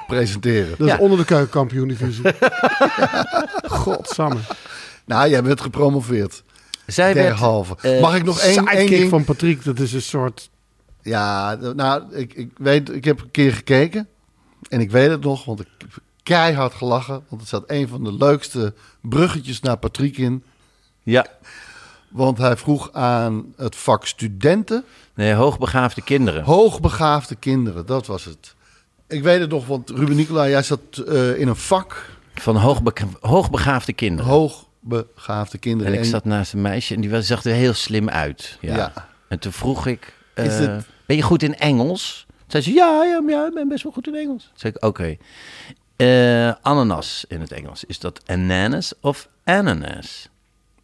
Presenteren. dat Ja. is onder de keukenkampioen divisie. <laughs> Godsamme. Nou, jij bent gepromoveerd. Zij werd, Derhalve. eh, Mag ik nog één, één Sidekick ding? van Patrick, dat is een soort... Ja, d- nou, ik, ik weet, ik heb een keer gekeken. En ik weet het nog, want ik heb keihard gelachen. Want er zat een van de leukste bruggetjes naar Patrick in. ja, Want hij vroeg aan het vak studenten, nee, hoogbegaafde kinderen. hoogbegaafde kinderen. Dat was het. Ik weet het nog, want Ruben Nicola, jij zat eh, in een vak Van hoogbe- hoogbegaafde kinderen. hoogbegaafde kinderen. En ik En- zat naast een meisje en die was- zag er heel slim uit. Ja. Ja. En toen vroeg ik, eh, Is het- ben je goed in Engels? Toen zei ze, ja, ja, ja, ik ben best wel goed in Engels. Toen zei ik, oké. Eh, ananas in het Engels, is dat ananas of ananas?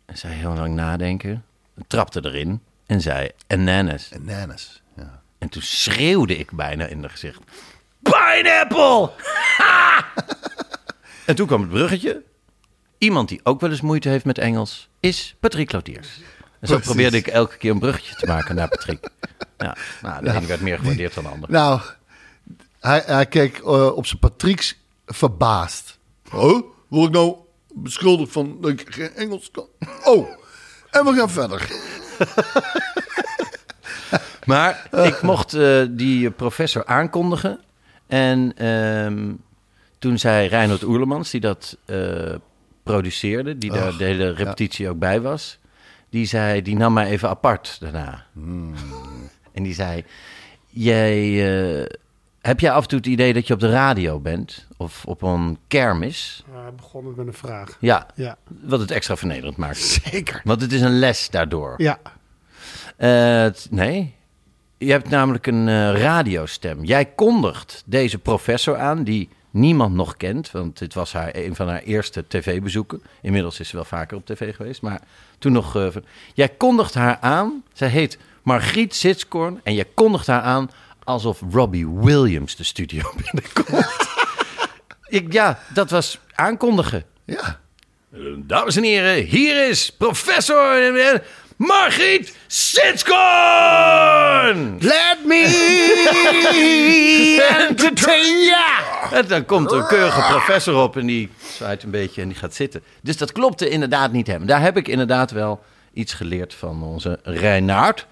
En zij heel lang nadenken, trapte erin en zei ananas. en Nannes. Ja. En toen schreeuwde ik bijna in haar gezicht, pineapple! Ha! en toen kwam het bruggetje. Iemand die ook wel eens moeite heeft met Engels is Patrick Lautiers. En zo Precies. probeerde ik elke keer een bruggetje te maken naar Patrick. Ja, nou, de ene werd meer gewaardeerd dan de ander. Nou, hij, hij keek eh, op zijn Patrick's verbaasd. Oh, word ik nou beschuldigd van dat ik geen Engels kan? Oh, en we gaan verder. Maar ik mocht eh, die professor aankondigen. En ehm, toen zei Reinhard Oerlemans, die dat eh, produceerde, die daar de hele repetitie ook bij was, die zei, die nam mij even apart daarna. En die zei, jij, eh, heb jij af en toe het idee dat je op de radio bent? Of op een kermis? Hij begon het met een vraag. Ja, Ja. wat het extra vernederend maakt. <laughs> Zeker. Want het is een les daardoor. Ja, Eh, t- nee. Je hebt namelijk een eh, radiostem. Jij kondigt deze professor aan, die niemand nog kent. Want dit was haar, een van haar eerste tv-bezoeken. Inmiddels is ze wel vaker op tv geweest. Maar toen nog. eh, van- jij kondigt haar aan. Zij heet Margriet Sitskoorn. En jij kondigt haar aan alsof Robbie Williams de studio <laughs> binnenkomt. Ik, ja, dat was aankondigen. Ja, Dames en heren, hier is professor eh, Margriet Sitskoorn! Let me entertain ya! En dan komt er een keurige professor op en die zwaait een beetje en die gaat zitten. Dus dat klopte inderdaad niet hem. Daar heb ik inderdaad wel iets geleerd van onze Reinaard.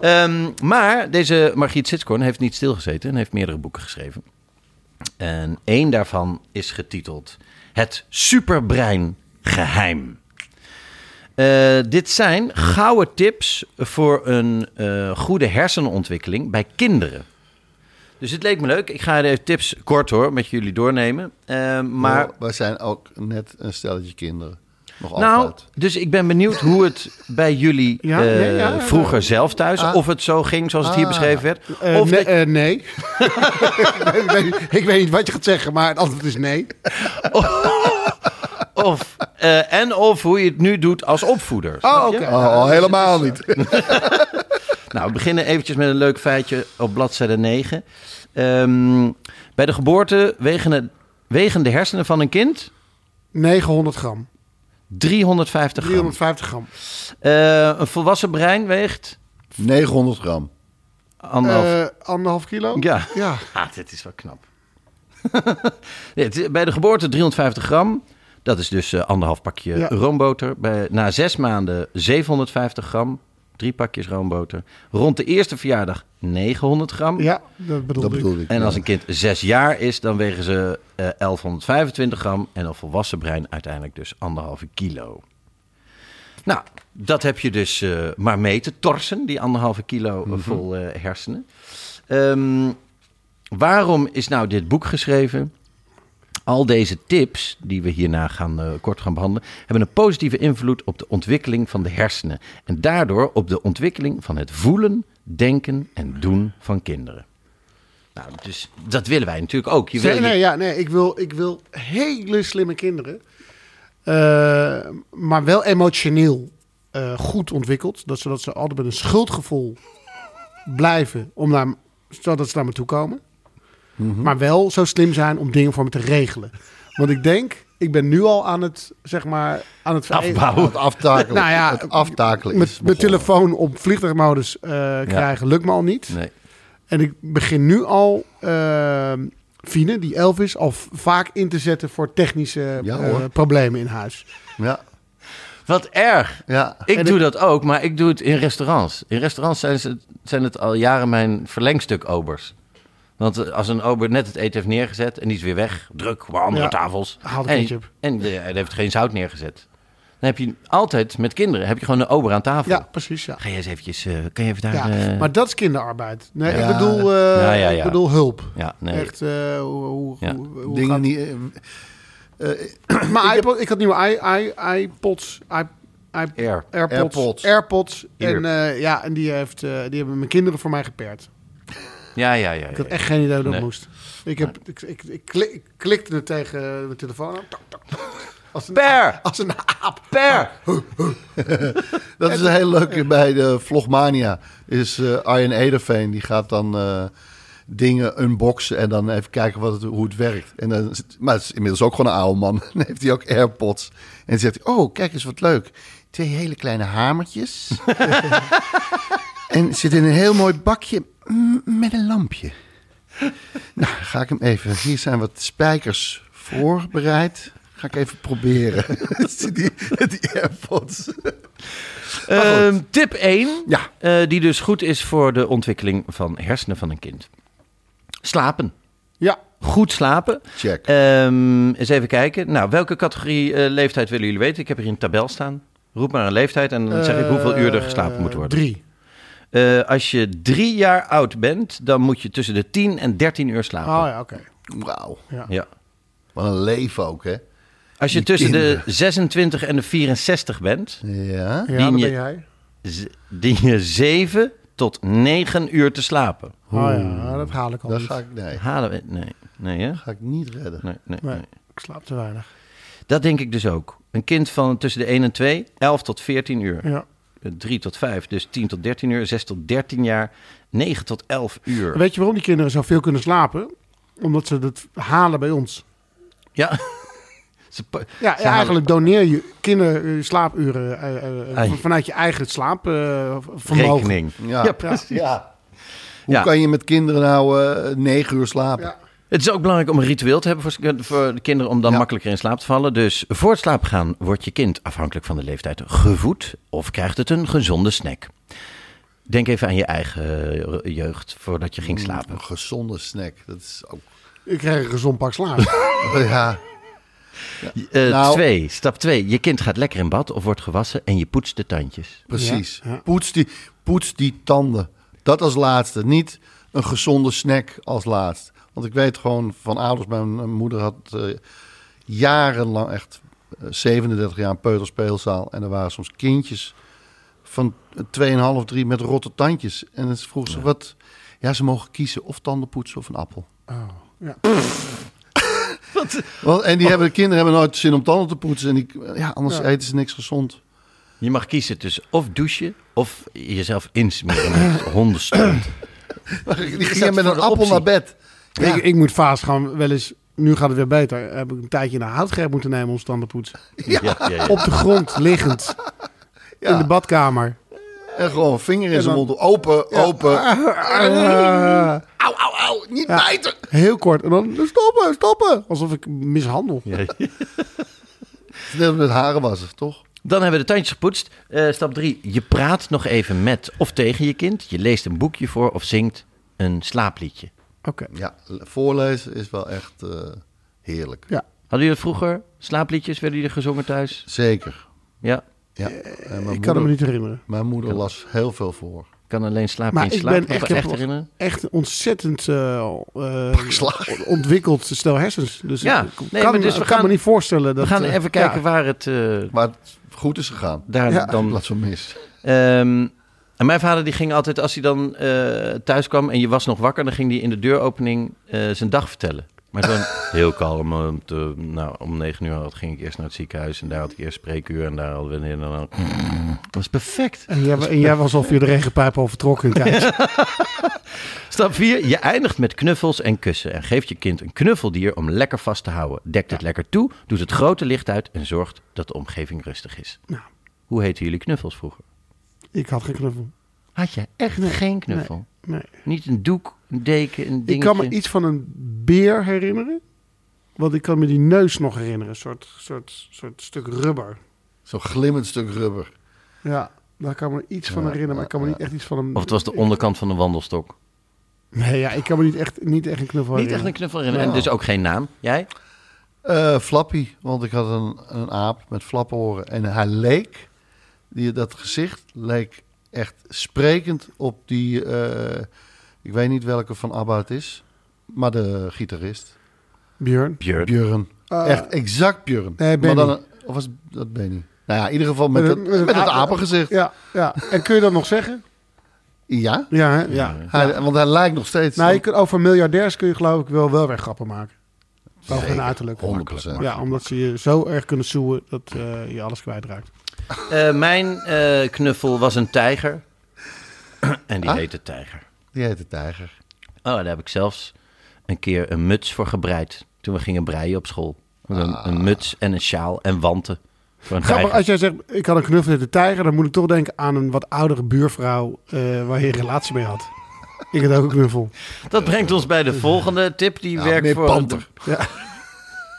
Ehm, maar deze Margriet Sitskoorn heeft niet stilgezeten en heeft meerdere boeken geschreven. En één daarvan is getiteld Het Superbrein Geheim. Eh, dit zijn gouden tips voor een eh, goede hersenontwikkeling bij kinderen. Dus het leek me leuk. Ik ga de tips kort hoor met jullie doornemen. Eh, maar Nou, Oh, maar we zijn ook net een stelletje kinderen. Nog Nou, altijd. dus ik ben benieuwd hoe het bij jullie Ja, eh, ja, ja, ja. vroeger zelf thuis, of het zo ging zoals het hier beschreven werd. Eh, of ne- dat- eh, nee. <laughs> ik, weet, niet- ik weet niet wat je gaat zeggen, maar het antwoord is nee. of, eh, en of hoe je het nu doet als opvoeder. Oh, oké. Oh, helemaal <laughs> niet. Nou, we beginnen eventjes met een leuk feitje op bladzijde 9. Ehm, bij de geboorte wegen, het- wegen de hersenen van een kind 900 gram. 350 gram. 350 gram. Eh, een volwassen brein weegt 900 gram. anderhalf. Eh, anderhalf kilo? ja. Ja. Ah, dit is wel knap. <laughs> Nee, het is- bij de geboorte 350 gram. Dat is dus eh, anderhalf pakje Ja. roomboter. Bij, na zes maanden 750 gram. Drie pakjes roomboter. Rond de eerste verjaardag 900 gram. Ja, dat bedoel Dat ik. bedoelde ik. En als ja. een kind zes jaar is, dan wegen ze eh, 1125 gram. En een volwassen brein uiteindelijk dus anderhalve kilo. Nou, dat heb je dus eh, maar mee te torsen, die anderhalve kilo eh, vol eh, hersenen. Ehm, waarom is nou dit boek geschreven? Al deze tips die we hierna gaan, eh, kort gaan behandelen, hebben een positieve invloed op de ontwikkeling van de hersenen. En daardoor op de ontwikkeling van het voelen, denken en doen van kinderen. Nou, dus dat willen wij natuurlijk ook. Je wil Nee, je- nee, ja, nee ik, wil, ik wil hele slimme kinderen. Eh, maar wel emotioneel eh, goed ontwikkeld. Dat, zodat ze altijd met een schuldgevoel blijven. Om naar, zodat ze naar me toe komen. Maar wel zo slim zijn om dingen voor me te regelen. Want ik denk, ik ben nu al aan het, zeg maar, aan het ver- Afbouwen. Het aftakelen. Nou ja, het aftakelen is Met, mijn begonnen. telefoon op vliegtuigmodus eh, krijgen lukt me al niet. Nee. En ik begin nu al eh, Fine, die elf is, al v- vaak in te zetten voor technische Ja, eh, hoor. problemen in huis. Ja, Wat erg. ja. Ik En doe ik- dat ook, maar ik doe het in restaurants. In restaurants zijn, ze, zijn het al jaren mijn verlengstuk obers. Want eh, als een ober net het eten heeft neergezet en die is weer weg, druk, waar andere Ja, tafels. haal de en, ketchup. En eh, hij heeft geen zout neergezet. Dan heb je altijd met kinderen heb je gewoon een ober aan tafel. Ja, precies. Ja. Ga je eens eventjes, eh, kan je even daar... Ja, eh, maar dat is kinderarbeid. Nee, Ja. ik, bedoel, eh, Ja, ja, ja. ik bedoel hulp. ja, nee. Echt, eh, hoe, hoe, Ja. hoe, hoe Dingen gaat- niet... eh, Maar iPod, ik had nieuwe i, i, iPods, i, i- Air. AirPods, AirPods. AirPods. Ear. En, eh, ja, en die, heeft, eh, die hebben mijn kinderen voor mij geperkt. Ja, ja, ja. ja, Ik had ja. echt geen idee hoe dat Nee. moest. Ik, heb, ik, ik, ik, klik- ik klikte het tegen mijn telefoon aan. Tok, tok, tok. Als een, Per! Als een aap. Ah, Per! <laughs> Dat is een heel leuk bij de Vlogmania. Is eh, Arjen Ederveen die gaat dan eh, dingen unboxen en dan even kijken wat het, hoe het werkt. En dan, zit- maar het is inmiddels ook gewoon een oude man. <laughs> Dan heeft hij ook AirPods. En dan zegt hij: Oh, kijk eens wat leuk. Twee hele kleine <laughs> hamertjes. en zit in een heel mooi bakje mm, met een lampje. Nou, ga ik hem even. Hier zijn wat spijkers voorbereid. Ga ik even proberen. <laughs> die, die AirPods. Ah, Ehm, tip 1, Ja. die dus goed is voor de ontwikkeling van hersenen van een kind. Slapen. Ja, Goed slapen. Check. Ehm, eens even kijken. Nou, welke categorie eh, leeftijd willen jullie weten? Ik heb hier een tabel staan. Roep maar een leeftijd en dan zeg Eh, ik hoeveel uur er geslapen moet worden. Drie. Eh, als je drie jaar oud bent, dan moet je tussen de 10 en 13 uur slapen. Oh ja, oké. Wauw. ja. Wat een leven ook, hè? Als je Die tussen de kinderen. 26 en de 64 bent, Ja. Ja, Dien dan je- ben jij. z- dien je 7 tot 9 uur te slapen. Oh ja, dat haal ik al Dat niet. ga ik, nee, Halen we... Nee, nee hè? ga ik niet redden. Nee, nee, Nee, nee. ik slaap te weinig. Dat denk ik dus ook. Een kind van tussen de 1 en 2, 11 tot 14 uur. Ja. 3 tot 5, dus 10 tot 13 uur. 6 tot 13 jaar, 9 tot 11 uur. Weet je waarom die kinderen zoveel kunnen slapen? Omdat ze dat halen bij ons. <laughs> Ja. Ze pa- Ja, ze halen- eigenlijk doneer je kinderen eh, slaapuren eh, eh, Ai. van- vanuit je eigen slaapvermogen. Rekening. Ja. Ja, precies. Ja. Hoe Ja. kan je met kinderen nou eh, negen uur slapen? Ja. Het is ook belangrijk om een ritueel te hebben voor, voor de kinderen om dan makkelijker in slaap te vallen. Dus voor het slapen gaan wordt je kind afhankelijk van de leeftijd gevoed of krijgt het een gezonde snack. Denk even aan je eigen eh, jeugd voordat je Mm. ging slapen. Een gezonde snack. Dat is ook... <laughs> Ik krijg een gezond pak slaap. Ja. Eh, Nou- twee, stap 2. Je kind gaat lekker in bad of wordt gewassen en je poetst de tandjes. Precies. Poets, die, poets die tanden. Dat als laatste. Niet een gezonde snack als laatst. Want ik weet gewoon van ouders. Mijn moeder had eh, jarenlang echt eh, 37 jaar een peuterspeelzaal. En er waren soms kindjes van 2,5, 3 met rotte tandjes. En dan vroeg ze wat... Ja, ze mogen kiezen of tandenpoetsen of een appel. Oh, <laughs> ja. Want, en die hebben, de kinderen hebben nooit zin om tanden te poetsen. En die, ja, anders Ja. eten ze niks gezond. Je mag kiezen tussen of douchen of jezelf insmeren <coughs> met hondenstunt. Die staat gingen met voor een de appel optie. naar bed. Ja. Ik, ik moet vaas gaan wel eens... Nu gaat het weer beter. Heb ik een tijdje naar houtgreep moeten nemen om tanden te poetsen. Ja, ja, ja. Op de <laughs> grond, liggend. Ja. In de badkamer. En gewoon vinger in En zijn dan- mond. doen. Open, open. Eh, ah, Au, au, au. Niet Ja. bijten. heel kort. En dan stoppen, stoppen. Alsof ik mishandel. Het is Net als met haren was het, toch? Dan hebben we de tandjes gepoetst. Eh, stap 3. Je praat nog even met of tegen je kind. Je leest een boekje voor of zingt een slaapliedje. Oké. Ja, voorlezen is wel echt eh, heerlijk. Ja. Hadden jullie dat vroeger? Slaapliedjes werden jullie gezongen thuis? Zeker. Ja, Ja. En mijn Ik moeder, kan het me niet herinneren. Mijn moeder las heel veel voor. ik kan alleen slapen in Maar ik slaap. ben Kan ik echt, me echt ik heb- herinneren? Echt een ontzettend eh, eh, Slaag. ontwikkeld stel hersens. Dus ik Ja, nee, kan, maar dus me, we kan gaan- me niet voorstellen. Dat, We gaan eh, even kijken ja. waar het eh, Maar het goed is gegaan. daar Ja. dan... Dat ze mis. Ehm, en mijn vader die ging altijd, als hij dan eh, thuis kwam en je was nog wakker... dan ging hij in de deuropening eh, zijn dag vertellen. Maar zo'n <laughs> heel kalm. eh, om te- nou, om negen uur had, ging ik eerst naar het ziekenhuis... en daar had ik eerst spreekuur en daar hadden we... een- en dan- Dat was perfect. En jij, en jij was al via de regenpijp al <laughs> vertrokken. Kijk, Stap 4. Je eindigt met knuffels en kussen. En geeft je kind een knuffeldier om lekker vast te houden. Dekt het lekker toe, doet het grote licht uit en zorgt dat de omgeving rustig is. Nou. Hoe heten jullie knuffels vroeger? ik had geen knuffel. Had je echt geen knuffel? Nee. Niet een doek, een deken, een dingetje? Ik kan me iets van een beer herinneren. Want ik kan me die neus nog herinneren. Een soort, soort, soort stuk rubber. Zo'n glimmend stuk rubber. Ja, daar kan me iets van herinneren. Maar ik kan me niet echt iets van een... Of het was de onderkant van een wandelstok. Nee, ja, ik kan me niet echt, niet echt een knuffel Niet echt herinneren. een knuffel herinneren. En dus ook geen naam. Jij? Eh, Flappy, want ik had een, een aap met flaphoren. En hij leek, die, dat gezicht leek echt sprekend op die, eh, ik weet niet welke van ABBA het is, maar de gitarist. Björn. Björn. Björn. Ah. echt exact Björn. Nee, maar Benny. dan, een- of was het- dat Benny? Nou ja, in ieder geval met, Met het, een- met het apengezicht. Ja, Ja, ja. En kun je dat nog zeggen? Ja, hè? Ja. Hij, want hij lijkt nog steeds. Nou, je kunt over miljardairs kun je geloof ik wel, wel weer grappen maken. Wel hun uiterlijk. 100%. Ja, omdat ze je zo erg kunnen soeën dat eh, je alles kwijtraakt. Eh, mijn eh, knuffel was een tijger. en die Ah? heette tijger. Die heet de tijger. Oh, daar heb ik zelfs een keer een muts voor gebreid. Toen we gingen breien op school. Met een, een muts en een sjaal en wanten. Voor een Grappig, tijger. als jij zegt, ik had een knuffel met de tijger, dan moet ik toch denken aan een wat oudere buurvrouw eh, waar je een relatie mee <laughs> had. Ik had ook een knuffel. Dat brengt ons bij de volgende tip. Die werkt meer voor panter. De, Dat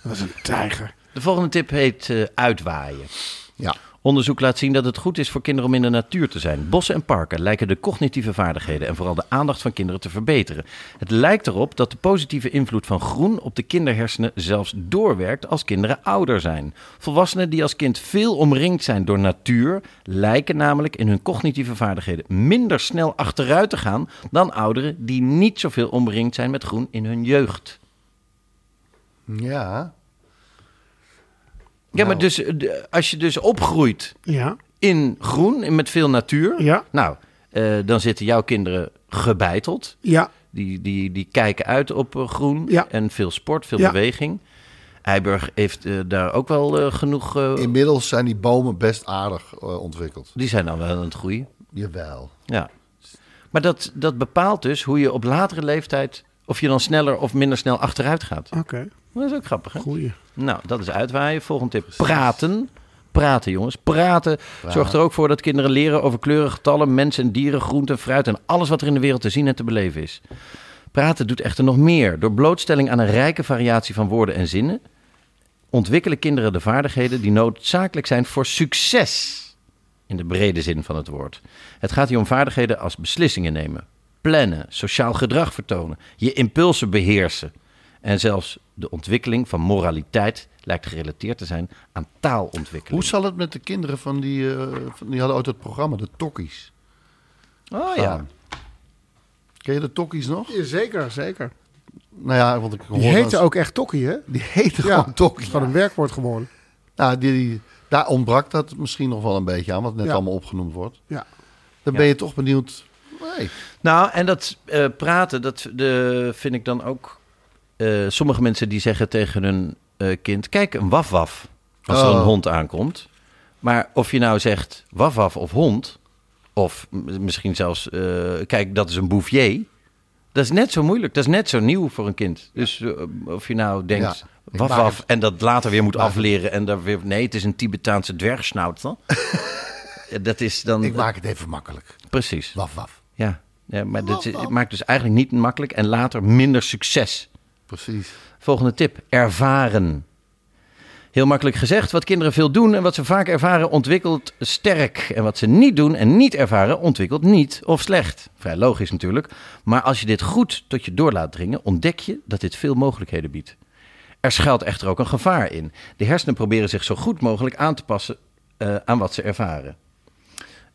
was een tijger. de volgende tip heet eh, uitwaaien. Ja. Onderzoek laat zien dat het goed is voor kinderen om in de natuur te zijn. Bossen en parken lijken de cognitieve vaardigheden en vooral de aandacht van kinderen te verbeteren. Het lijkt erop dat de positieve invloed van groen op de kinderhersenen zelfs doorwerkt als kinderen ouder zijn. Volwassenen die als kind veel omringd zijn door natuur, lijken namelijk in hun cognitieve vaardigheden minder snel achteruit te gaan dan ouderen die niet zoveel omringd zijn met groen in hun jeugd. Ja. Ja, Nou. maar dus, eh, de- als je dus opgroeit Ja, in groen, in- met veel natuur. Ja. Nou, eh, dan zitten jouw kinderen gebeiteld. ja, Die, die, die kijken uit op eh, groen Ja. en veel sport, veel Ja. beweging. Eiburg heeft eh, daar ook wel eh, genoeg... eh, Inmiddels zijn die bomen best aardig eh, ontwikkeld. die zijn dan wel aan het groeien. Jawel. Ja. Maar dat, dat bepaalt dus hoe je op latere leeftijd... of je dan sneller of minder snel achteruit gaat. oké. Dat is ook grappig, hè? Goeie. Nou, dat is uitwaaien. Volgende tip. Praten. Praten, jongens. Praten zorgt er ook voor dat kinderen leren over kleuren, getallen, mensen en dieren, groenten, fruit en alles wat er in de wereld te zien en te beleven is. Praten doet echter nog meer. Door blootstelling aan een rijke variatie van woorden en zinnen ontwikkelen kinderen de vaardigheden die noodzakelijk zijn voor succes. In de brede zin van het woord. Het gaat hier om vaardigheden als beslissingen nemen, plannen, sociaal gedrag vertonen, je impulsen beheersen. En zelfs de ontwikkeling van moraliteit lijkt gerelateerd te zijn aan taalontwikkeling. Hoe zal het met de kinderen van die... eh, van, die hadden ooit het programma, de Tokkies. Oh Ah. gaan? Ken je de Tokkies nog? Zeker, zeker. Nou ja, want ik hoor Die heette dat- ook echt Tokkie, hè? Die heette Ja, <laughs> gewoon Tokkies. Van een werkwoord geworden. Nou, die, die- daar ontbrak dat misschien nog wel een beetje aan, wat net Ja. allemaal opgenoemd wordt. Ja. Dan ben je toch benieuwd. Nee. Nou, en dat eh, praten, dat de, vind ik dan ook... eh, sommige mensen die zeggen tegen hun eh, kind... Kijk, een waf-waf, als er Oh. een hond aankomt. Maar of je nou zegt waf-waf of hond... of m- misschien zelfs... eh, kijk, dat is een bouvier. Dat is net zo moeilijk. Dat is net zo nieuw voor een kind. Dus eh, of je nou denkt... Ja. Waf-waf, en dat later weer moet afleren. En daar weer, nee, het is een <laughs> Tibetaanse dwergsnauter. dat is dan. Ik maak het even makkelijk. Precies. Waf, waf. Ja, ja maar dit is- het maakt dus eigenlijk niet makkelijk en later minder succes. Precies. Volgende tip: ervaren. Heel makkelijk gezegd, wat kinderen veel doen en wat ze vaak ervaren, ontwikkelt sterk. En wat ze niet doen en niet ervaren, ontwikkelt niet of slecht. Vrij logisch natuurlijk. Maar als je dit goed tot je door laat dringen, ontdek je dat dit veel mogelijkheden biedt. Er schuilt echter ook een gevaar in. De hersenen proberen zich zo goed mogelijk aan te passen eh, aan wat ze ervaren.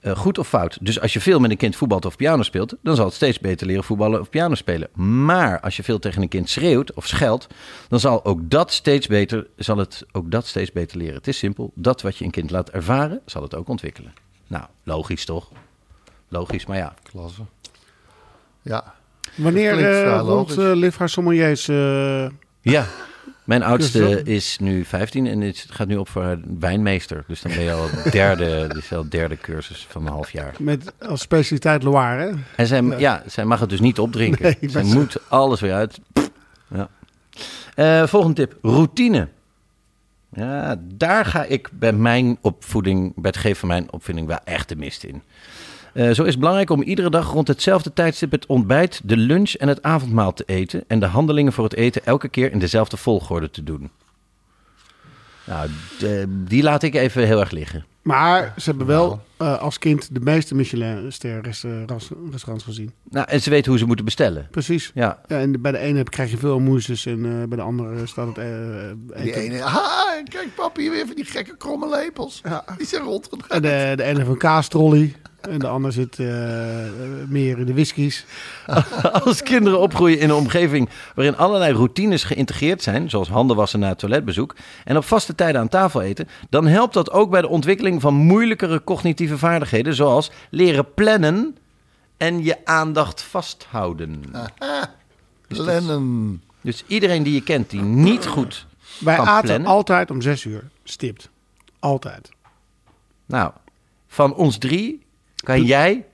Eh, goed of fout. Dus als je veel met een kind voetbalt of piano speelt, dan zal het steeds beter leren voetballen of piano spelen. Maar als je veel tegen een kind schreeuwt of scheldt, dan zal ook dat steeds beter, zal het ook dat steeds beter leren. Het is simpel. Dat wat je een kind laat ervaren, zal het ook ontwikkelen. Nou, logisch toch? Logisch, maar ja. Klasse. Ja. Wanneer Dat klinkt vrij eh wordt logisch. eh Liv haar sommeliers? eh, Ja. Mijn oudste dat- is nu 15 en is- gaat nu op voor haar wijnmeester. Dus dan ben je al derde, <laughs> dus al derde cursus van een half jaar. met als specialiteit Loire, hè? En zij, ja, zij mag het dus niet opdrinken. Nee, zij maar ze- moet alles weer uit. Ja. Eh, volgende tip. Routine. Ja, daar ga ik bij mijn opvoeding, bij het geven van mijn opvinding, wel echt de mist in. Eh, zo is het belangrijk om iedere dag rond hetzelfde tijdstip het ontbijt, de lunch en het avondmaal te eten. En de handelingen voor het eten elke keer in dezelfde volgorde te doen. Nou, de- die laat ik even heel erg liggen. Maar ze hebben wel eh, als kind de meeste Michelin-ster restaurants gezien. Nou, en ze weet hoe ze moeten bestellen. Precies. Ja, Ja, en bij de ene heb- krijg je veel moesjes en eh, bij de andere staat het eh, Die eten. ene. Ah, kijk papi, hier weer van die gekke kromme lepels. Die zijn En rondgedraaid. Eh, de, de ene heeft een kaastrolly en de ander zit eh, eh, meer in de whiskies. Als kinderen opgroeien in een omgeving waarin allerlei routines geïntegreerd zijn, zoals handen wassen na het toiletbezoek, en op vaste tijden aan tafel eten, dan helpt dat ook bij de ontwikkeling van moeilijkere cognitieve vaardigheden, zoals leren plannen en je aandacht vasthouden. Ah. Lennon. Dus iedereen die je kent die niet goed Wij kan aten plannen, altijd om zes uur, stipt. Altijd. nou, van ons drie kan jij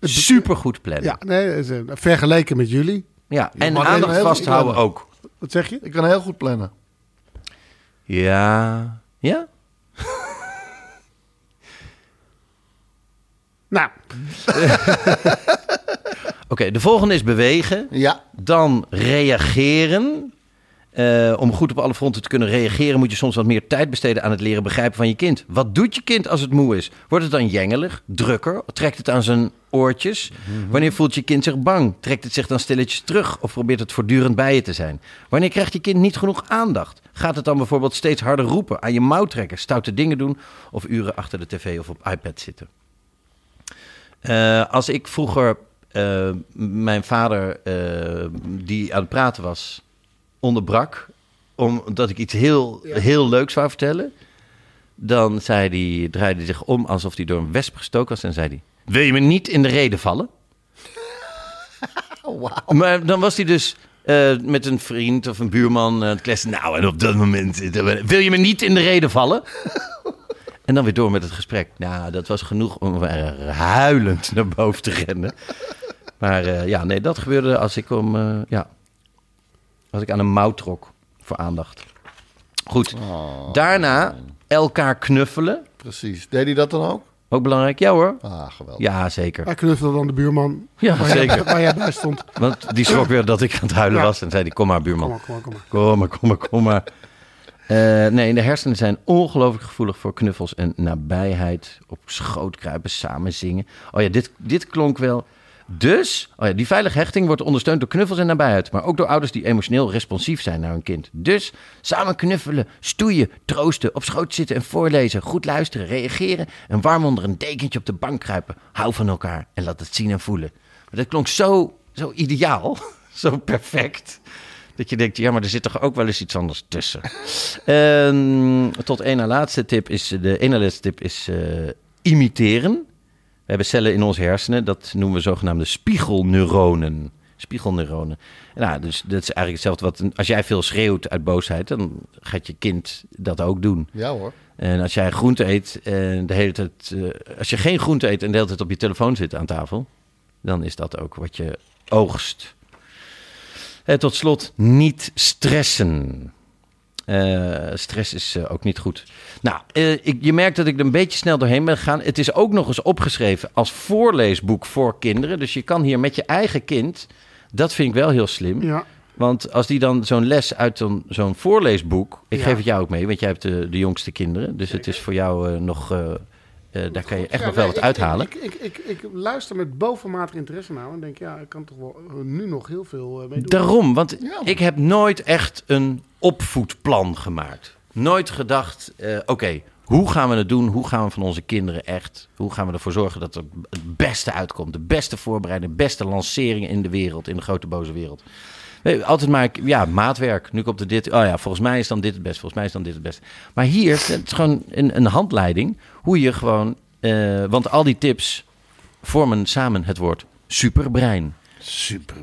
supergoed plannen. Ja, Ja, nee, dat is, eh, vergeleken met jullie. en mag even aandacht heel goed vasthouden plannen. ook. Wat zeg je? Ik kan heel goed plannen. Ja, ja. Nou, <laughs> Oké, de volgende is bewegen. Ja. Dan reageren. Eh, om goed op alle fronten te kunnen reageren, moet je soms wat meer tijd besteden aan het leren begrijpen van je kind. Wat doet je kind als het moe is? Wordt het dan jengelig, drukker? Trekt het aan zijn oortjes? Wanneer voelt je kind zich bang? Trekt het zich dan stilletjes terug of probeert het voortdurend bij je te zijn? Wanneer krijgt je kind niet genoeg aandacht? Gaat het dan bijvoorbeeld steeds harder roepen, aan je mouw trekken, stoute dingen doen of uren achter de tv of op iPad zitten? Eh, als ik vroeger eh, m- mijn vader, eh, die aan het praten was, onderbrak. omdat ik iets heel, heel leuks wou vertellen. dan zei die, draaide hij zich om alsof hij door een wesp gestoken was. en zei hij: Wil je me niet in de reden vallen? Maar dan was hij dus. eh, met een vriend of een buurman eh, het kletsen. Nou, en op dat moment. eh, Wil je me niet in de reden vallen? En dan weer door met het gesprek. Nou, dat was genoeg om er huilend naar boven te rennen. Maar eh, ja, nee, dat gebeurde als ik om, eh, ja, als ik aan een mouw trok voor aandacht. Goed. Daarna elkaar knuffelen. Precies. Deed hij dat dan ook? Ook belangrijk. Ja hoor. Ah, geweldig. Ja, zeker. hij knuffelde dan de buurman Ja, zeker. waar jij bij stond. Want die schrok weer dat ik aan het huilen Ja. was. En zei die, kom maar Kom buurman. maar, kom maar, kom maar. Kom maar, kom maar, kom maar. Eh, nee, de hersenen zijn ongelooflijk gevoelig voor knuffels en nabijheid. Op schoot kruipen, samen zingen. Oh ja, dit, dit klonk wel. Dus, oh ja, die veilige hechting wordt ondersteund door knuffels en nabijheid. Maar ook door ouders die emotioneel responsief zijn naar hun kind. Dus, samen knuffelen, stoeien, troosten, op schoot zitten en voorlezen. Goed luisteren, reageren en warm onder een dekentje op de bank kruipen. Hou van elkaar en <laughs> laat het zien en voelen. Maar dat klonk zo, zo ideaal, zo perfect. Dat je denkt, ja, maar er zit toch ook wel eens iets anders tussen. Ehm, tot één na laatste tip is, de één na laatste tip is eh, imiteren. We hebben cellen in onze hersenen, dat noemen we zogenaamde spiegelneuronen. Spiegelneuronen. Nou, dus dat is eigenlijk hetzelfde wat een- als jij veel schreeuwt uit boosheid, dan gaat je kind dat ook doen. Ja hoor. En als jij groente eet en de hele tijd, eh, als je geen groente eet en de hele tijd op je telefoon zit aan tafel, dan is dat ook wat je oogst. En tot slot, niet stressen. Eh, stress is eh, ook niet goed. Nou, eh, ik, je merkt dat ik er een beetje snel doorheen ben gegaan. Het is ook nog eens opgeschreven als voorleesboek voor kinderen. Dus je kan hier met je eigen kind, dat vind ik wel heel slim. Ja. Want als die dan zo'n les uit een- zo'n voorleesboek. Ik Ja. geef het jou ook mee, want jij hebt eh, de, de jongste kinderen. Dus het is voor jou eh, nog. eh, eh, daar kan je echt Ja, nog wel nee, wat ik- uithalen. Ik, ik, ik, ik, luister met bovenmatig interesse naar en denk, ja, ik kan toch wel eh, nu nog heel veel eh mee doen. Daarom, want Ja. ik heb nooit echt een opvoedplan gemaakt. Nooit gedacht, eh, oké, hoe gaan we het doen? Hoe gaan we van onze kinderen echt... Hoe gaan we ervoor zorgen dat er het beste uitkomt? De beste voorbereiding, de beste lanceringen in de wereld. In de grote boze wereld. Nee, Altijd maar, ja, maatwerk. Nu komt er dit. Oh ja, volgens mij is dan dit het best. Volgens mij is dan dit het best. Maar hier, het is gewoon een, een handleiding. Hoe je gewoon... eh, want al die tips vormen samen het woord superbrein.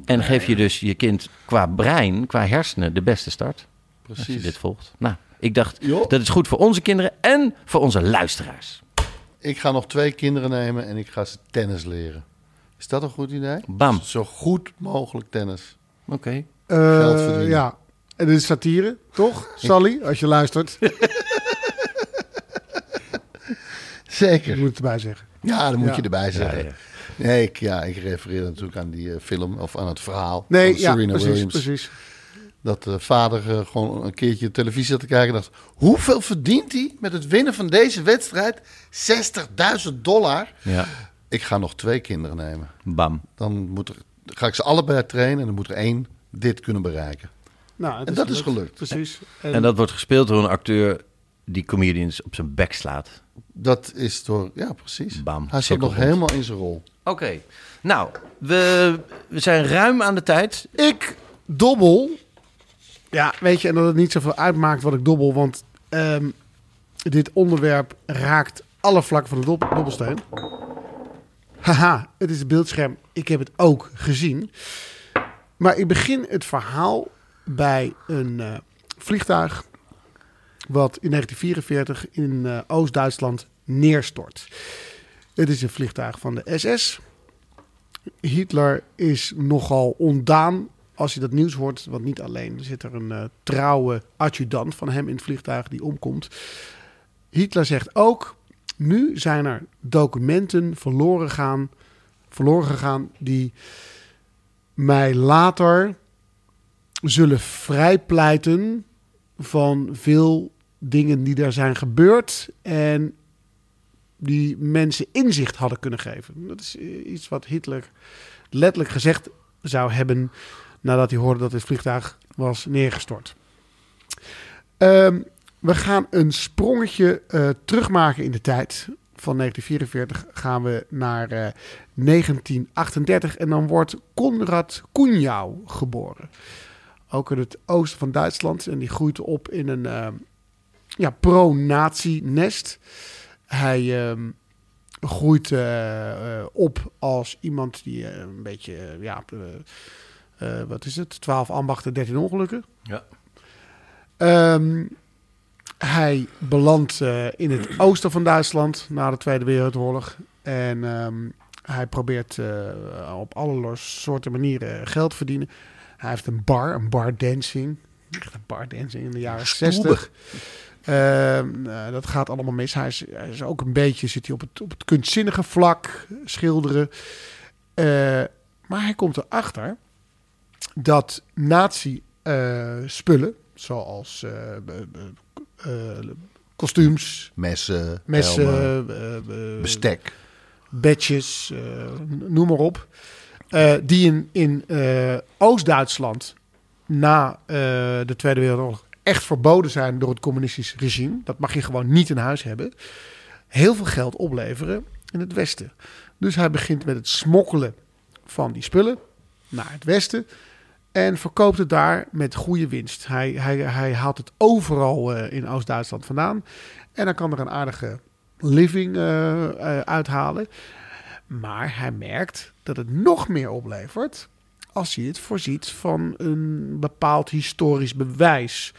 En geef je dus je kind qua brein, qua hersenen, de beste start. Als je Precies. dit volgt. Nou, ik dacht, Jo. dat is goed voor onze kinderen en voor onze luisteraars. Ik ga nog twee kinderen nemen en ik ga ze tennis leren. Is dat een goed idee? Bam. Zo goed mogelijk tennis. Oké. Eh, Geld verdienen. Ja. En dit is satire, <laughs> toch? Sally, als je luistert, je Zeker. moet het erbij zeggen. Ja, dat moet Ja. je erbij zeggen. ja. Nee, ik, ja, ik refereer natuurlijk aan die eh, film of aan het verhaal Nee, van ja, Serena precies, Williams. precies. Dat de vader eh, gewoon een keertje televisie zat te kijken en dacht... hoeveel verdient hij met het winnen van deze wedstrijd? 60.000 dollar. Ja. Ik ga nog twee kinderen nemen. Bam. Dan moet er, ga ik ze allebei trainen en dan moet er één dit kunnen bereiken. Nou, het En dat is gelukt. Precies. En dat wordt gespeeld door een acteur die comedians op zijn bek slaat. Dat is door... Ja, precies. Bam, Hij zat cirkel nog rond. helemaal in zijn rol. Oké. Nou, we, we zijn ruim aan de tijd. Ik dobbel. Ja, weet je, en dat het niet zoveel uitmaakt wat ik dobbel, want ehm, dit onderwerp raakt alle vlakken van de dob- dobbelsteen. Haha, het is het beeldscherm. Ik heb het ook gezien. Maar ik begin het verhaal bij een eh, vliegtuig wat in 1944 in eh, Oost-Duitsland neerstort. Het is een vliegtuig van de SS. Hitler is nogal ondaan als je dat nieuws hoort. Want niet alleen zit er een eh, trouwe adjudant van hem in het vliegtuig die omkomt. Hitler zegt ook, nu zijn er documenten verloren, gaan, verloren gegaan die mij later zullen vrijpleiten van veel dingen die daar zijn gebeurd. En die mensen inzicht hadden kunnen geven. Dat is eh, iets wat Hitler letterlijk gezegd zou hebben nadat hij hoorde dat het vliegtuig was neergestort. Ehm, we gaan een sprongetje eh, terugmaken in de tijd. Van 1944 gaan we naar eh, 1938 en dan wordt Konrad Kunjau geboren. Ook in het oosten van Duitsland en die groeit op in een eh, ja, pro-nazi-nest. Hij ehm, groeit eh, eh, op als iemand die eh, een beetje, eh, ja, eh, eh, wat is het? 12 ambachten, 13 ongelukken. Ja. Ehm, hij belandt eh, in het oosten van Duitsland na de Tweede Wereldoorlog. En ehm, hij probeert eh, op allerlei soorten manieren geld te verdienen. Hij heeft een bar, een bar dancing. Echt een bar dancing in de jaren 60. Ehm, nou, dat gaat allemaal mis. Hij is, hij is ook een beetje zit hij op het, op het kunstzinnige vlak, schilderen. Eh, maar hij komt erachter dat nazi-spullen, zoals eh, be- be- eh, kostuums, Messen, messen, helmen, eh, eh, bestek. badges, eh, noem maar op. eh, die in, in eh, Oost-Duitsland na eh, de Tweede Wereldoorlog echt verboden zijn door het communistisch regime. Dat mag je gewoon niet in huis hebben. Heel veel geld opleveren in het Westen. Dus hij begint met het smokkelen van die spullen naar het Westen. En verkoopt het daar met goede winst. Hij, hij, hij haalt het overal eh, in Oost-Duitsland vandaan. En dan kan er een aardige living eh, eh, uithalen. Maar hij merkt dat het nog meer oplevert als hij het voorziet van een bepaald historisch bewijs.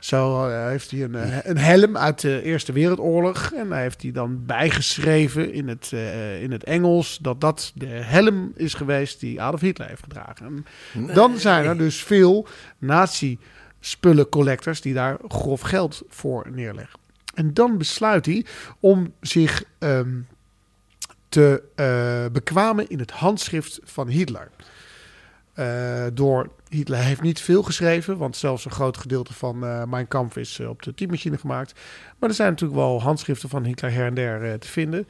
Zo eh, heeft hij een, eh, een helm uit de Eerste Wereldoorlog. En daar heeft hij dan bijgeschreven in het, eh, in het Engels dat dat de helm is geweest die Adolf Hitler heeft gedragen. En Dan zijn er dus veel nazi-spullencollectors die daar grof geld voor neerleggen. En dan besluit hij om zich ehm, te eh, bekwamen in het handschrift van Hitler. Eh, door Hitler heeft niet veel geschreven, want zelfs een groot gedeelte van eh, Mijn Kampf is eh, op de typemachine gemaakt. Maar er zijn natuurlijk wel handschriften van Hitler her en der eh, te vinden.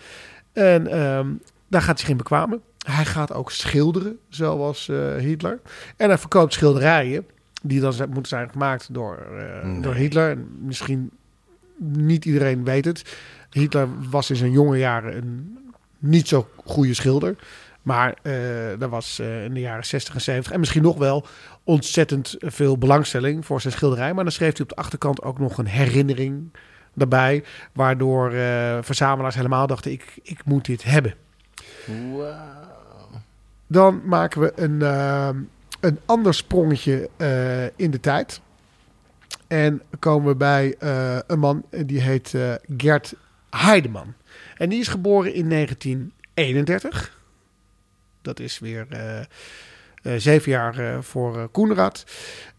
En ehm, daar gaat hij geen bekwamen. Hij gaat ook schilderen, zoals eh, Hitler. En hij verkoopt schilderijen, die dan zijn- moeten zijn gemaakt door, eh, door Hitler. En misschien niet iedereen weet het. Hitler was in zijn jonge jaren een niet zo goede schilder. Maar eh er was eh, in de jaren 60 en 70 en misschien nog wel ontzettend veel belangstelling voor zijn schilderij. Maar dan schreef hij op de achterkant ook nog een herinnering daarbij. Waardoor eh, verzamelaars helemaal dachten, ik, ik moet dit hebben. Dan maken we een, eh, een ander sprongetje eh, in de tijd. En komen we bij eh, een man eh, die heet eh, Gert Heideman. En die is geboren in 1931. Dat is weer eh, eh, zeven jaar eh, voor eh, Koenraad.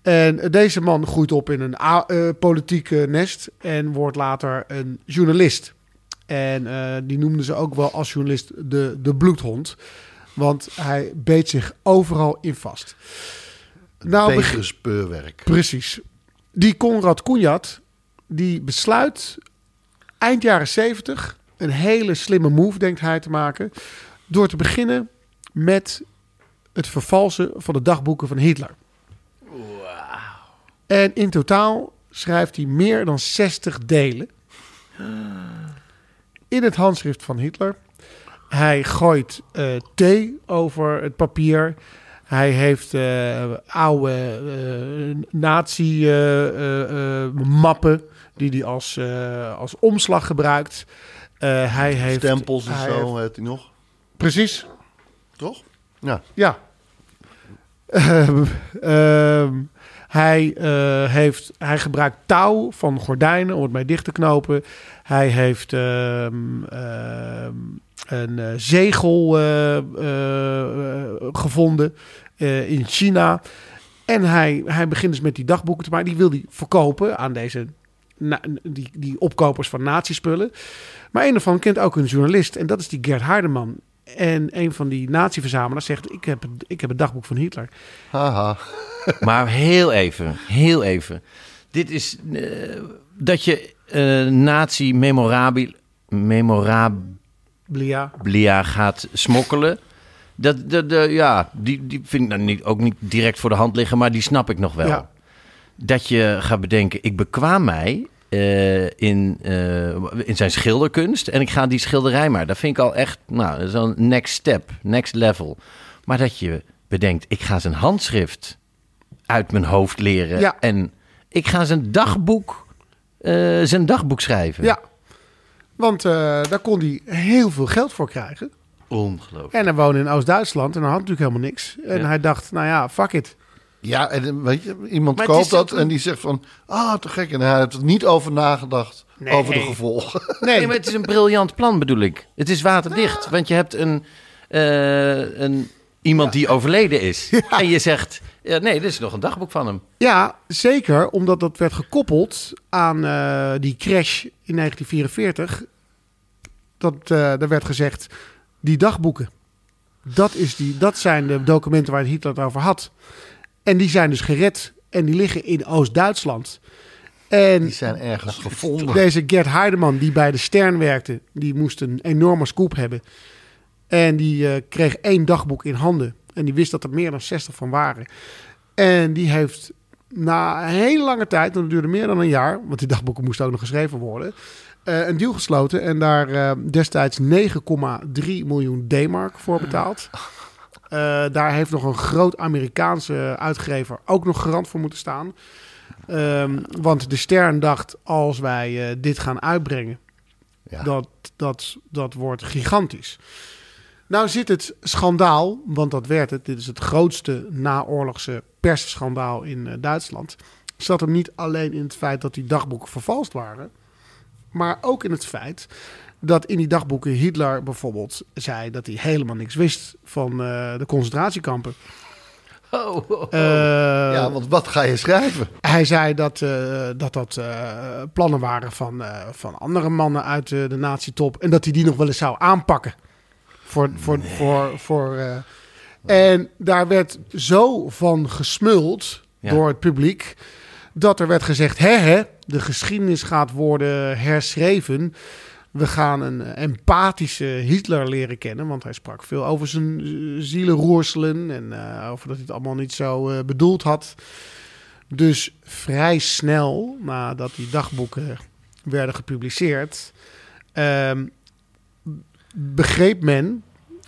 En eh, deze man groeit op in een a- eh, politieke nest en wordt later een journalist. En eh, die noemden ze ook wel als journalist de, de bloedhond. Want hij beet zich overal in vast. Nou, begin- Tegen speurwerk. Precies. Die Konrad Koenjat, die besluit eind jaren 70 een hele slimme move, denkt hij, te maken. Door te beginnen met het vervalsen van de dagboeken van Hitler. En in totaal schrijft hij meer dan 60 delen. Ah. In het handschrift van Hitler. Hij gooit eh, thee over het papier. Hij heeft eh, oude eh, nazi-mappen eh, die hij als, eh, als omslag gebruikt. Eh, hij heeft, Stempels en hij zo heeft- heeft hij nog. precies, Toch? Ja. ja. Ehm, ehm, hij, eh, heeft, hij gebruikt touw van gordijnen om het mee dicht te knopen. Hij heeft ehm, ehm, een eh, zegel eh, eh, eh, gevonden eh, in China. En hij, hij begint dus met die dagboeken te maken. Die wil hij verkopen aan deze na- die, die opkopers van nazispullen. Maar een daarvan kent ook een journalist. En dat is die Gert Hardeman. En een van die nazi-verzamelaars zegt... Ik heb, het- ik heb het dagboek van Hitler. Haha. Maar heel even, heel even. Dit is eh, dat je eh nazi memorabil, memorabilia Blia. gaat smokkelen. Dat, dat, dat- ja, die, die vind ik dan niet, ook niet direct voor de hand liggen, maar die snap ik nog wel. Ja. Dat je gaat bedenken, ik bekwaam mij eh, in, eh, in zijn schilderkunst en ik ga die schilderij maar. Dat vind ik al echt, nou, dat is al een next step, next level. Maar dat je bedenkt, ik ga zijn handschrift uit mijn hoofd leren. Ja. En ik ga zijn dagboek, eh, zijn dagboek schrijven. Ja. Want eh, daar kon hij heel veel geld voor krijgen. Ongelooflijk. En hij woonde in Oost-Duitsland. En hij had natuurlijk helemaal niks. En Ja. hij dacht, nou ja, fuck it. Ja, en eh, weet je, iemand Maar het koopt is ook dat een- en die zegt van... Ah, te gek. En hij heeft er niet over nagedacht. Nee. Over de gevolgen. Nee, maar het is een briljant plan bedoel ik. Het is waterdicht, want je hebt een, eh, een, iemand die overleden is. En je zegt, ja, nee, dit is nog een dagboek van hem. Ja, zeker. Omdat dat werd gekoppeld aan eh, die crash in 1944. Dat, eh er werd gezegd, die dagboeken. Dat, is die, dat zijn de documenten waar Hitler het over had. En die zijn dus gered. En die liggen in Oost-Duitsland. En Die zijn ergens gevonden. deze Gert Heideman, die bij de Stern werkte... die moest een enorme scoop hebben. En die eh, kreeg één dagboek in handen. En die wist dat er meer dan 60 van waren. En die heeft na een hele lange tijd, en dat duurde meer dan een jaar, want die dagboeken moesten ook nog geschreven worden, eh, een deal gesloten en daar eh, destijds 9,3 miljoen D-mark voor betaald. Eh, daar heeft nog een groot Amerikaanse uitgever ook nog garant voor moeten staan. Ehm, want de Stern dacht, als wij eh, dit gaan uitbrengen, Ja. dat, dat, dat wordt gigantisch. Nou zit het schandaal, want dat werd het. Dit is het grootste naoorlogse persschandaal in eh, Duitsland. Zat hem niet alleen in het feit dat die dagboeken vervalst waren, maar ook in het feit dat in die dagboeken Hitler bijvoorbeeld zei dat hij helemaal niks wist van eh, de concentratiekampen. Eh, Oh. ja, want wat ga je schrijven? hij zei dat eh, dat, dat eh, plannen waren van, eh, van andere mannen uit eh, de nazi-top. En dat hij die nog wel eens zou aanpakken. Voor, voor, voor, voor, eh, En daar werd zo van gesmuld Ja. door het publiek. Dat er werd gezegd: hè, hè, de geschiedenis gaat worden herschreven. We gaan een eh, empathische Hitler leren kennen. Want hij sprak veel over zijn eh, zielenroerselen. En eh, over dat hij het allemaal niet zo eh, bedoeld had. Dus vrij snel nadat die dagboeken werden gepubliceerd, ehm, begreep men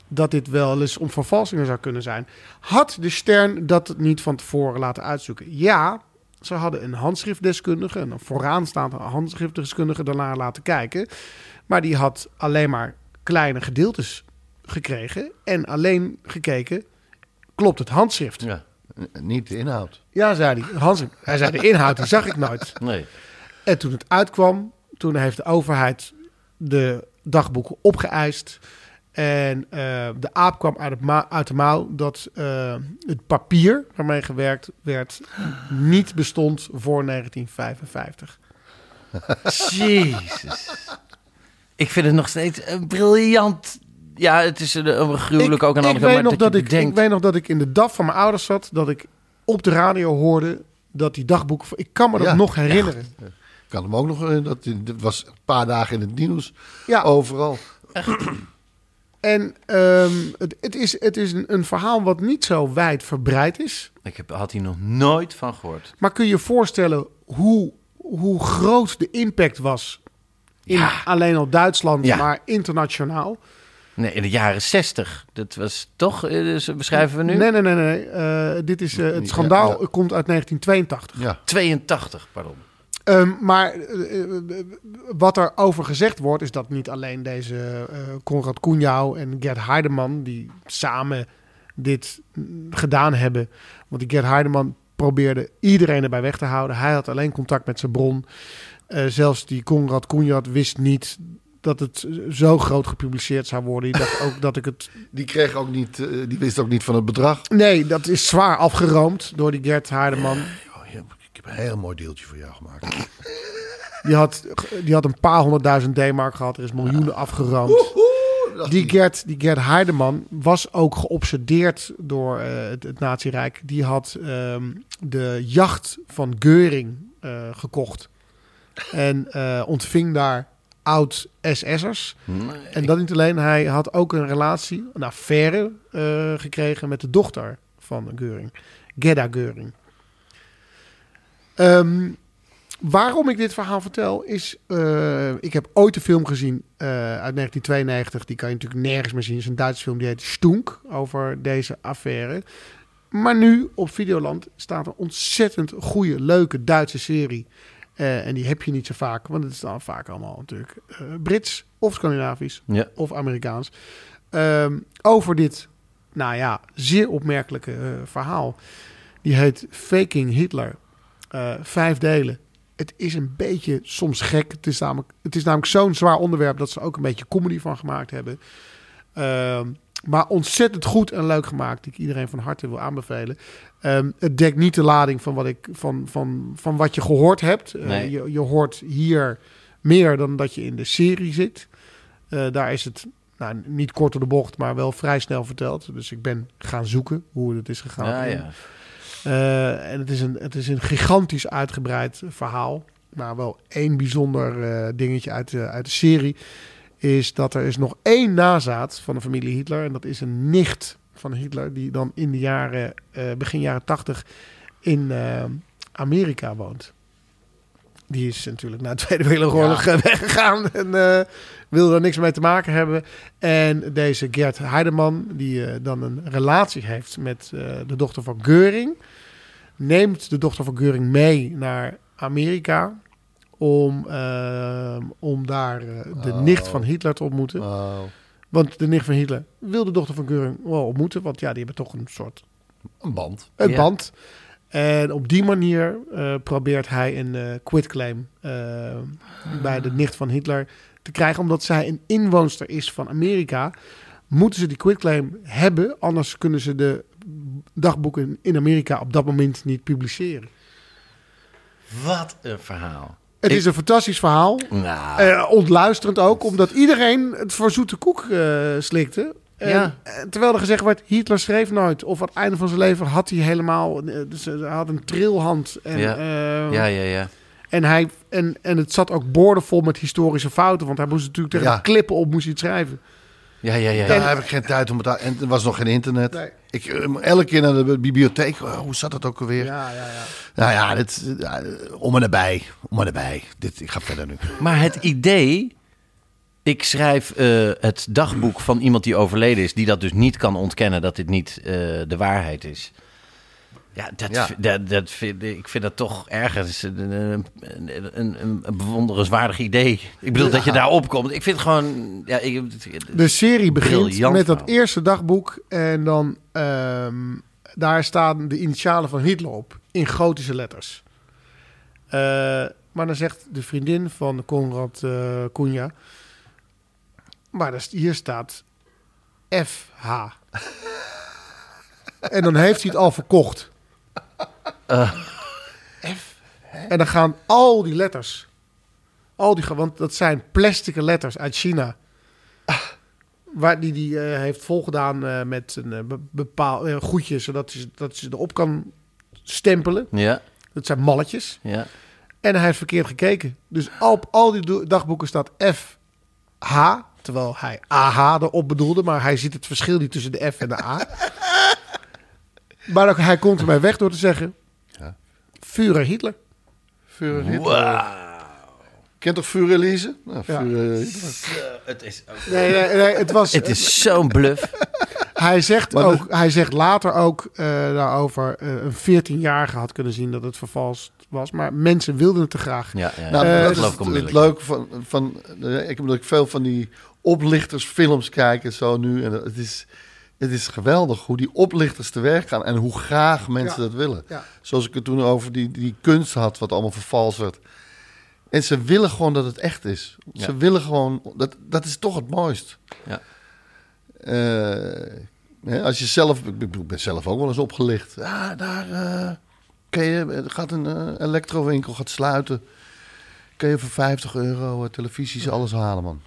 dat dit wel eens om vervalsingen zou kunnen zijn. Had de Stern dat niet van tevoren laten uitzoeken? Ja, ze hadden een handschriftdeskundige, een vooraanstaande handschriftdeskundige, daarnaar laten kijken. Maar die had alleen maar kleine gedeeltes gekregen en alleen gekeken, klopt het handschrift? Ja, N- Niet de inhoud. Ja, zei hij. Hans, hij zei de inhoud, die zag ik nooit. nee. En toen het uitkwam, toen heeft de overheid de dagboeken opgeëist. En eh, de aap kwam uit, het ma- uit de mouw dat eh, het papier waarmee gewerkt werd niet bestond voor 1955. Jezus. Ik vind het nog steeds een briljant. Ja, het is een, een gruwelijk ook aan de ik, andere weet kant, nog maar dat je ik, ik bedenkt- weet nog dat ik in de DAF van mijn ouders zat, dat ik op de radio hoorde dat die dagboeken... Ik kan me dat Ja, nog herinneren. Ik kan hem ook nog. eh, Dat, dat was een paar dagen in het nieuws. Ja. Oh, Overal. En ehm, het, het is, het is een, een verhaal wat niet zo wijdverbreid is. ik heb, had hier nog nooit van gehoord. Maar kun je je voorstellen hoe, hoe groot de impact was? In Ja. alleen al Duitsland, Ja. maar internationaal. Nee, in de jaren zestig. Dat was toch, eh, dus beschrijven we nu? Nee, nee, nee. nee. Eh, dit is, eh, het Ja, schandaal ja. komt uit 1982. Ja. 82, pardon. Ehm, maar eh, eh, wat er over gezegd wordt, is dat niet alleen deze eh Konrad Koenjouw en Gerd Heideman, die samen dit mm, gedaan hebben. Want die Gerd Heideman probeerde iedereen erbij weg te houden. Hij had alleen contact met zijn bron. Eh, zelfs die Konrad Koenjouw wist niet dat het eh, zo groot gepubliceerd zou worden. Die dacht ook dat ik het Die kreeg ook niet. eh, die wist ook niet van het bedrag. Nee, dat is zwaar afgeroomd door die Gert Haardeman. Oh, ja, ik heb een heel mooi deeltje voor jou <laughs> gemaakt. Die had, die had een paar honderdduizend D-mark gehad. Er is miljoenen afgeroomd. Die Gert, die Gert Haardeman was ook geobsedeerd door eh, het, het Nazi-rijk. Die had ehm, de jacht van Geuring eh, gekocht. En eh, ontving daar oud-SS'ers. En dat niet alleen. Hij had ook een relatie, een affaire eh, gekregen met de dochter van Geuring. Gerda Geuring. Ehm, waarom ik dit verhaal vertel is... eh, ik heb ooit een film gezien eh, uit 1992. Die kan je natuurlijk nergens meer zien. Het is een Duitse film die heet Stunk over deze affaire. Maar nu op Videoland staat een ontzettend goede, leuke Duitse serie. Eh, en die heb je niet zo vaak, want het is dan vaak allemaal natuurlijk eh, Brits of Scandinavisch Ja. of Amerikaans. Ehm, over dit, nou ja, zeer opmerkelijke eh, verhaal. Die heet Faking Hitler. Eh, vijf delen. Het is een beetje soms gek. Het is namelijk, het is namelijk zo'n zwaar onderwerp dat ze ook een beetje comedy van gemaakt hebben. Ehm, maar ontzettend goed en leuk gemaakt. Die ik iedereen van harte wil aanbevelen. Ehm, het dekt niet de lading van wat, ik, van, van, van wat je gehoord hebt. Eh, Nee. je, je hoort hier meer dan dat je in de serie zit. Eh, daar is het nou, niet kort door de bocht, maar wel vrij snel verteld. Dus ik ben gaan zoeken hoe het is gegaan. Ja, ja. Eh, en het is, een, het is een gigantisch uitgebreid verhaal. Maar wel één bijzonder eh, dingetje uit de, uit de serie. Is dat er is nog één nazaat van de familie Hitler. En dat is een nicht van Hitler. Die dan in de jaren, eh, begin jaren tachtig in eh, Amerika woont. die is natuurlijk na de Tweede Wereldoorlog eh, weggegaan en eh, wilde daar niks mee te maken hebben. En deze Gert Heideman, die eh, dan een relatie heeft met eh, de dochter van Geuring, neemt de dochter van Geuring mee naar Amerika om, eh, om daar eh, de Oh. nicht van Hitler te ontmoeten. Oh. Want de nicht van Hitler wil de dochter van Geuring wel ontmoeten, want ja, die hebben toch een soort Een band. een Ja. band. En op die manier eh, probeert hij een eh quitclaim eh, bij de nicht van Hitler te krijgen. Omdat zij een inwoonster is van Amerika, moeten ze die quitclaim hebben. Anders kunnen ze de dagboeken in Amerika op dat moment niet publiceren. Wat een verhaal. Het Ik- is een fantastisch verhaal. Nou, Eh, ontluisterend ook, omdat iedereen het voor zoete koek eh, slikte. En, Ja. eh, terwijl er gezegd werd, Hitler schreef nooit. Of aan het einde van zijn leven had hij helemaal... eh, Dus eh, hij had een trilhand. En, Ja. eh, ja, ja, ja. en, hij, en, en het zat ook boordevol met historische fouten. Want hij moest natuurlijk tegen Ja. de klippen op moest hij het schrijven. Ja, ja, ja. Daar ja. heb ik geen tijd om het aan- En er was nog geen internet. Nee. Ik, eh, moet elke keer naar de bibliotheek. Oh, hoe zat dat ook alweer? Ja, ja, ja. Nou ja, dit, ja, om en nabij. Om en nabij. Dit, ik ga verder nu. Maar het idee... Ik schrijf eh, het dagboek van iemand die overleden is... die dat dus niet kan ontkennen dat dit niet eh, de waarheid is. Ja, dat, Ja. vi- Dat, dat vind, ik vind dat toch ergens een, een, een, een- een bewonderenswaardig idee. Ik bedoel, dat je daar opkomt. Ik vind het gewoon... Ja, ik, De serie begint Briljant met dat verhaal. eerste dagboek. En dan ehm, daar staan de initialen van Hitler op. In gotische letters. Eh, maar dan zegt de vriendin van Konrad eh Cunha. Maar daar, st- hier staat <laughs> FH. en dan heeft hij het al verkocht. Eh. F. En dan gaan al die letters. Al die, ge- want dat zijn plastic letters uit China. Waar die, die eh, heeft volgedaan eh, met een eh, be- bepaal eh, goedje, zodat ze, dat ze erop kan stempelen. ja, Dat zijn malletjes. ja. En hij heeft verkeerd gekeken. Dus op al die do- dagboeken staat FH, terwijl hij AH erop bedoelde. Maar hij ziet het verschil niet tussen de F en de A. <laughs> maar ook, hij komt ermee weg door te zeggen... Führer Hitler. Vuur Kent toch Vuur Elise? Nou, Ja. Vuur, eh, Hitler. Het is, ook- Nee, nee, nee, <laughs> het was... het is zo'n bluff. Hij zegt, Maar dus- ook, hij zegt later ook eh, daarover... eh, een 14-jarige had kunnen zien dat het vervalst was. Maar mensen wilden het te graag. <laughs> Ja, ja, ja. Nou, Eh, dat geloof is ik het, onmiddellijk. het leuke van... van eh, ik heb natuurlijk veel van die oplichtersfilms kijken zo nu. En het is, het is geweldig hoe die oplichters te werk gaan en hoe graag mensen Ja. dat willen. Ja. Zoals ik het toen over die, die kunst had, wat allemaal vervals werd. En ze willen gewoon dat het echt is. Ze willen gewoon... Dat, dat is toch het mooist. Ja. Eh, hè, als je zelf... Ik bedoel, ik ben zelf ook wel eens opgelicht. Ja, daar... eh, kan je, er gaat een eh, elektrowinkel gaat sluiten. Kun je voor 50 euro eh, televisies alles halen, man.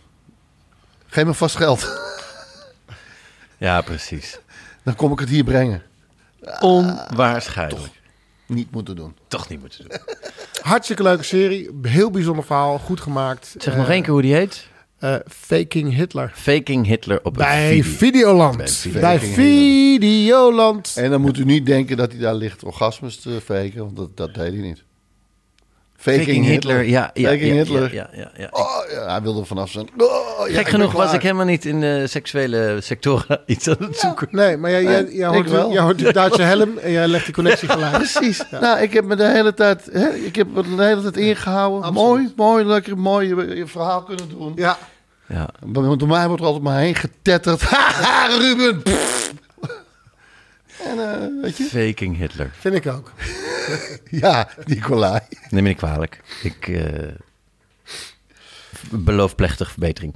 Geef me vast geld. <laughs> Ja, precies. Dan kom ik het hier brengen. Onwaarschijnlijk. Toch, Niet moeten doen. niet moeten doen. Hartstikke leuke serie. Heel bijzonder verhaal. Goed gemaakt. Zeg Eh, nog één keer hoe die heet. eh, Faking Hitler. Faking Hitler op Bij een video. Videoland. Bij Bij Video- Videoland. En dan moet u niet denken dat hij daar ligt orgasmes te faken. Want dat, dat deed hij niet. Faking, Hitler. Ja, ja, Faking ja, Hitler. Ja, ja, ja. Oh, ja, hij wilde er vanaf zijn. Oh, ja, Gek ben genoeg was klaar. ik helemaal niet in de seksuele sectoren <laughs> iets aan het zoeken. Eh, Nee, maar jij, jij, jij ik hoort, wel. jij hoort de Duitse helm en jij legt die connectie gelijk. Precies. Nou, ik heb me de hele tijd, hè, ik heb me de hele tijd ingehouden. Mooi, mooi, lekker, mooi eh, je, je verhaal kunnen doen. Ja. Ja. Bij- Want door mij wordt er altijd maar heen getetterd. <laughs> Haha, Ruben! Pff. en, eh, weet je? Faking Hitler. Vind ik ook. <laughs> Ja, Nicolai. Neem me niet kwalijk. Ik eh, beloof plechtig verbetering.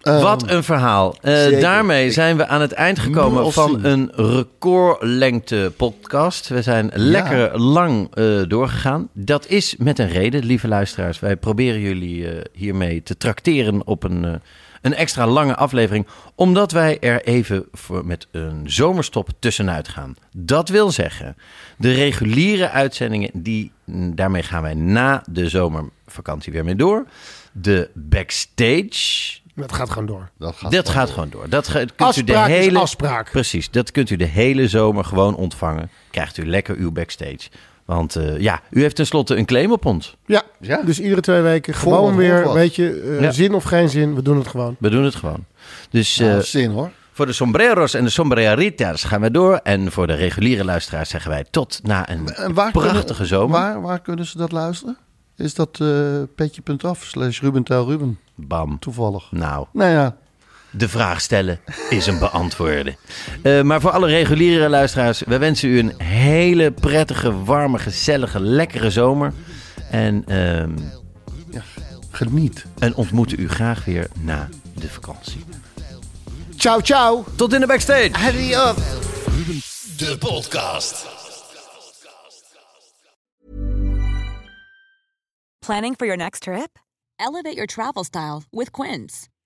Wat een verhaal. Eh, Ehm, zeker. daarmee zijn we aan het eind Moet gekomen ons van zien. een recordlengte podcast. We zijn lekker lang eh, doorgegaan. Dat is met een reden, lieve luisteraars. Wij proberen jullie eh, hiermee te trakteren op een, eh, een extra lange aflevering. Omdat wij er even voor, met een zomerstop tussenuit gaan. Dat wil zeggen, de reguliere uitzendingen, die, mm, daarmee gaan wij na de zomervakantie weer mee door. De backstage, Dat gaat gewoon door. Dat gaat dat gaat gewoon door. Dat ge- kunt Afspraak u de is hele, afspraak. Precies, dat kunt u de hele zomer gewoon ontvangen. Krijgt u lekker uw backstage. Want eh, ja, u heeft tenslotte een claim op ons. Ja, Ja. dus iedere twee weken Voor gewoon wat, voor weer, wat. weet je, eh, Ja. zin of geen zin, we doen het gewoon. We doen het gewoon. Dus eh, Nou, zin hoor. voor de sombreros en de sombreritas gaan we door. En voor de reguliere luisteraars zeggen wij tot na een En waar prachtige kunnen, zomer. Waar, waar kunnen ze dat luisteren? Is dat eh petje.af slash Rubentel Ruben Bam. toevallig? Nou, Nou ja, de vraag stellen is een beantwoorden. Eh, maar voor alle reguliere luisteraars, we wensen u een hele prettige, warme, gezellige, lekkere zomer. En, ehm, geniet. en ontmoeten u graag weer na de vakantie. Ciao, ciao! Tot in de backstage! آه، De podcast. Planning for your next trip? Elevate your travel style with Quince.